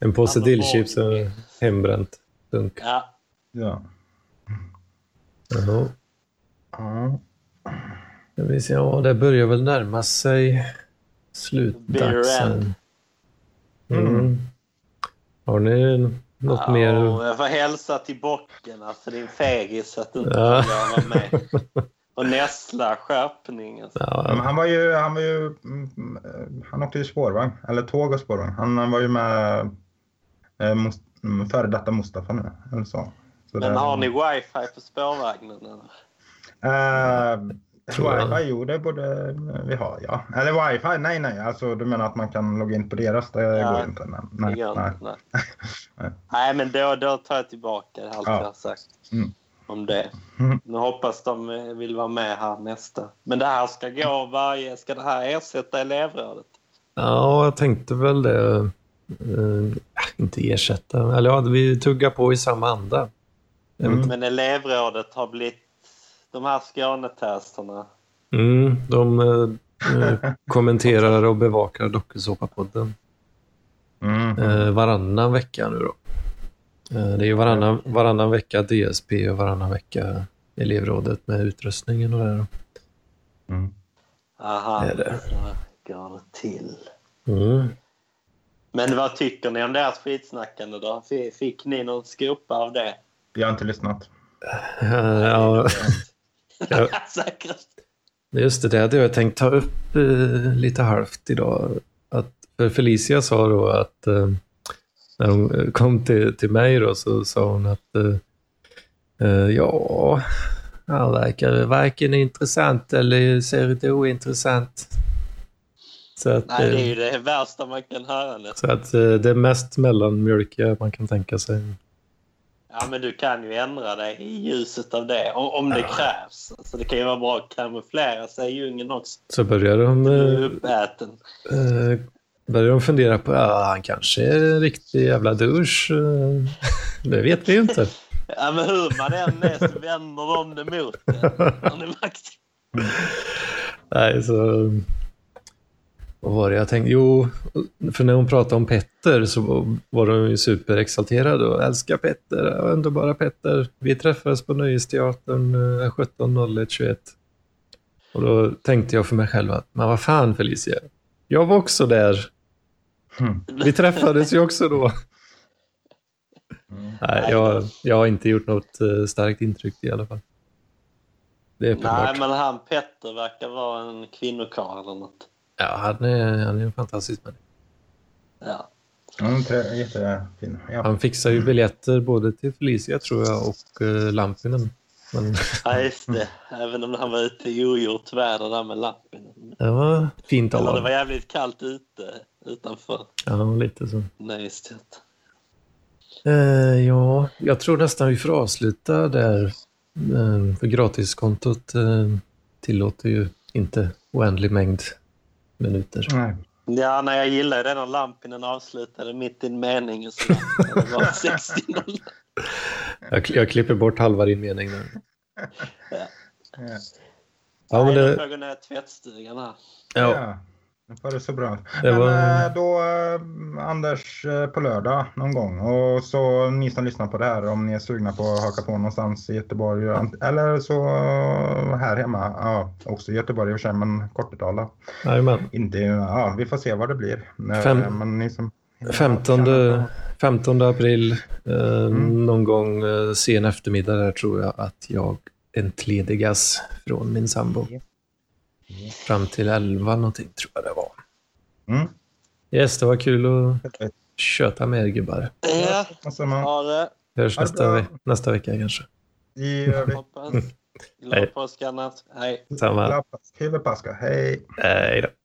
Speaker 1: en påse
Speaker 3: Alltså,
Speaker 1: dillchips
Speaker 3: barn.
Speaker 1: och hembränt. Dunk.
Speaker 3: Ja,
Speaker 2: Ja.
Speaker 1: Jaha.
Speaker 2: Ja.
Speaker 1: Ska vi se. Ja, det börjar väl närma sig
Speaker 3: Beer
Speaker 1: slutdagsen.
Speaker 2: Mm.
Speaker 1: Mm. Har ni något
Speaker 3: Ja,
Speaker 1: mer?
Speaker 3: och Jag får hälsa till bocken, alltså din fegis, att du inte
Speaker 1: Ja.
Speaker 3: vill vara med. Och nästla skärpning. Alltså.
Speaker 2: Men
Speaker 1: Ja,
Speaker 2: han var ju, han var ju, mm, eh, han åkte ju spårvagn, eller tåg och spårvagn. Han, han var ju med eh, Mus- mm, före detta Mustafa nu, eller så. så
Speaker 3: Men
Speaker 2: det-
Speaker 3: har ni wifi på spårvagnen? Eller?
Speaker 2: Eh,
Speaker 1: Tror jag.
Speaker 2: wifi, jo det borde vi ha ja. Eller wifi, nej nej, alltså du menar att man kan logga in på deras, det
Speaker 3: Ja.
Speaker 2: går ju inte. Nej,
Speaker 3: Nej,
Speaker 2: nej,
Speaker 3: det gör
Speaker 2: nej.
Speaker 3: inte det.
Speaker 2: Nej.
Speaker 3: Nej, men då, då tar jag tillbaka allt
Speaker 2: Ja.
Speaker 3: jag har sagt
Speaker 2: Mm.
Speaker 3: om det.
Speaker 2: Mm.
Speaker 3: Nu hoppas de eh, vill vara med här nästa. Men det här ska gå varje... Ska det här ersätta elevrådet?
Speaker 1: ja, jag tänkte väl det. Eh, inte ersätta, eller ja, vi tuggar på i samma anda.
Speaker 2: Mm.
Speaker 3: Men elevrådet har blivit... De här Skånetesterna.
Speaker 1: Mm, de eh, eh, kommenterar och bevakar dokusåpapodden.
Speaker 2: Mm.
Speaker 1: Eh, varannan vecka nu då. Eh, det är ju varannan, varannan vecka DSP och varannan vecka elevrådet med utrustningen och det där.
Speaker 2: Mm.
Speaker 3: Aha,
Speaker 1: Det är det.
Speaker 3: så går det till.
Speaker 1: Mm.
Speaker 3: Men vad tycker ni om deras skitsnackande då? F- Fick ni någon skopa av det?
Speaker 2: Jag har inte lyssnat.
Speaker 1: Eh, ja, Ja.
Speaker 3: Säkert.
Speaker 1: just det, det hade jag tänkt ta upp eh, lite halvt idag. Att, för Felicia sa då att eh, när hon eh, kom till, till mig då så sa hon att eh, eh, ja, han verkar varken intressant eller ser ut ointressant. Så att,
Speaker 3: Nej, det
Speaker 1: eh,
Speaker 3: är ju det värsta man kan höra nu.
Speaker 1: Så att eh, det är mest mellanmjölkiga man kan tänka sig.
Speaker 3: Ja, men du kan ju ändra dig i ljuset av det, om, om det krävs. Alltså, det kan ju vara bra att kamouflera sig i djungeln också.
Speaker 1: Så börjar de,
Speaker 3: Du är
Speaker 1: eh,
Speaker 3: uppäten.
Speaker 1: eh, börjar de fundera på att han kanske är en riktig jävla douche. eh. Det vet vi ju inte.
Speaker 3: Ja, men hur man än är så vänder de det mot en. Han är makt-
Speaker 1: Nej, så, Vad var det jag tänkte? Jo, för när hon pratade om Petter så var de ju superexalterad och älskar Petter, och underbara Petter. Vi träffades på Nöjesteatern eh, 17.01.21. Och då tänkte jag för mig själv att, men vad fan Felicia, jag var också där.
Speaker 2: Mm.
Speaker 1: Vi träffades ju också då.
Speaker 2: Mm.
Speaker 1: Nej, jag, jag har inte gjort något eh, starkt intryck i alla fall. Det är uppenbart.
Speaker 3: Nej, men han Petter verkar vara en kvinnokarl eller något.
Speaker 1: Ja, han är, han är en fantastisk människa.
Speaker 3: Ja.
Speaker 2: Mm, tre- jättefin. Ja.
Speaker 1: Han fixar ju biljetter både till Felicia tror jag och eh, Lampinen. Men
Speaker 3: ja, just det. Även om han var ute i ogjort väder där med lappen.
Speaker 1: det var fint av
Speaker 3: Eller det var
Speaker 1: honom.
Speaker 3: jävligt kallt ute utanför.
Speaker 1: Ja, lite så.
Speaker 3: Nej, just det.
Speaker 1: Eh, ja, jag tror nästan vi får avsluta där. Eh, för gratiskontot eh, tillåter ju inte oändlig mängd minuter.
Speaker 2: Nej.
Speaker 3: Ja, nej, jag gillar ju det när Lampinen avslutade mitt i en mening. Och så det var 60
Speaker 1: Jag, jag klipper bort halva din mening nu.
Speaker 2: Ja.
Speaker 1: Ja, men
Speaker 3: Nej, då får
Speaker 1: det,
Speaker 3: jag gå ner i tvättstugan här.
Speaker 1: ja,
Speaker 2: Det var det så bra.
Speaker 1: Det
Speaker 2: Men
Speaker 1: var-
Speaker 2: eh, då eh, Anders eh, på lördag någon gång och så ni som lyssnar på det här om ni är sugna på att haka på någonstans i Göteborg ant- eller så eh, här hemma. Ja, också i Göteborg i och för sig men Kortedala.
Speaker 1: jajamän.
Speaker 2: Inte, ja, vi får se vad det blir. Eh,
Speaker 1: Fem-
Speaker 2: Men ni som...
Speaker 1: 15, 15 april, eh, någon gång eh, sen eftermiddag där tror jag att jag entledigas från min sambo. Fram till 11 någonting tror jag det var.
Speaker 2: Mm.
Speaker 1: Yes, det var kul att köta med er gubbar.
Speaker 3: Ja,
Speaker 2: Alltså, man,
Speaker 3: ha det.
Speaker 1: Hörs
Speaker 2: Ha det
Speaker 1: nästa,
Speaker 2: bra.
Speaker 1: ve- nästa vecka kanske.
Speaker 2: I övrigt,
Speaker 3: Hoppas. Glad
Speaker 1: Mm. Hej.
Speaker 3: påsk annars. Hej.
Speaker 1: Samma.
Speaker 2: Lappas, Hej.
Speaker 1: Hej då.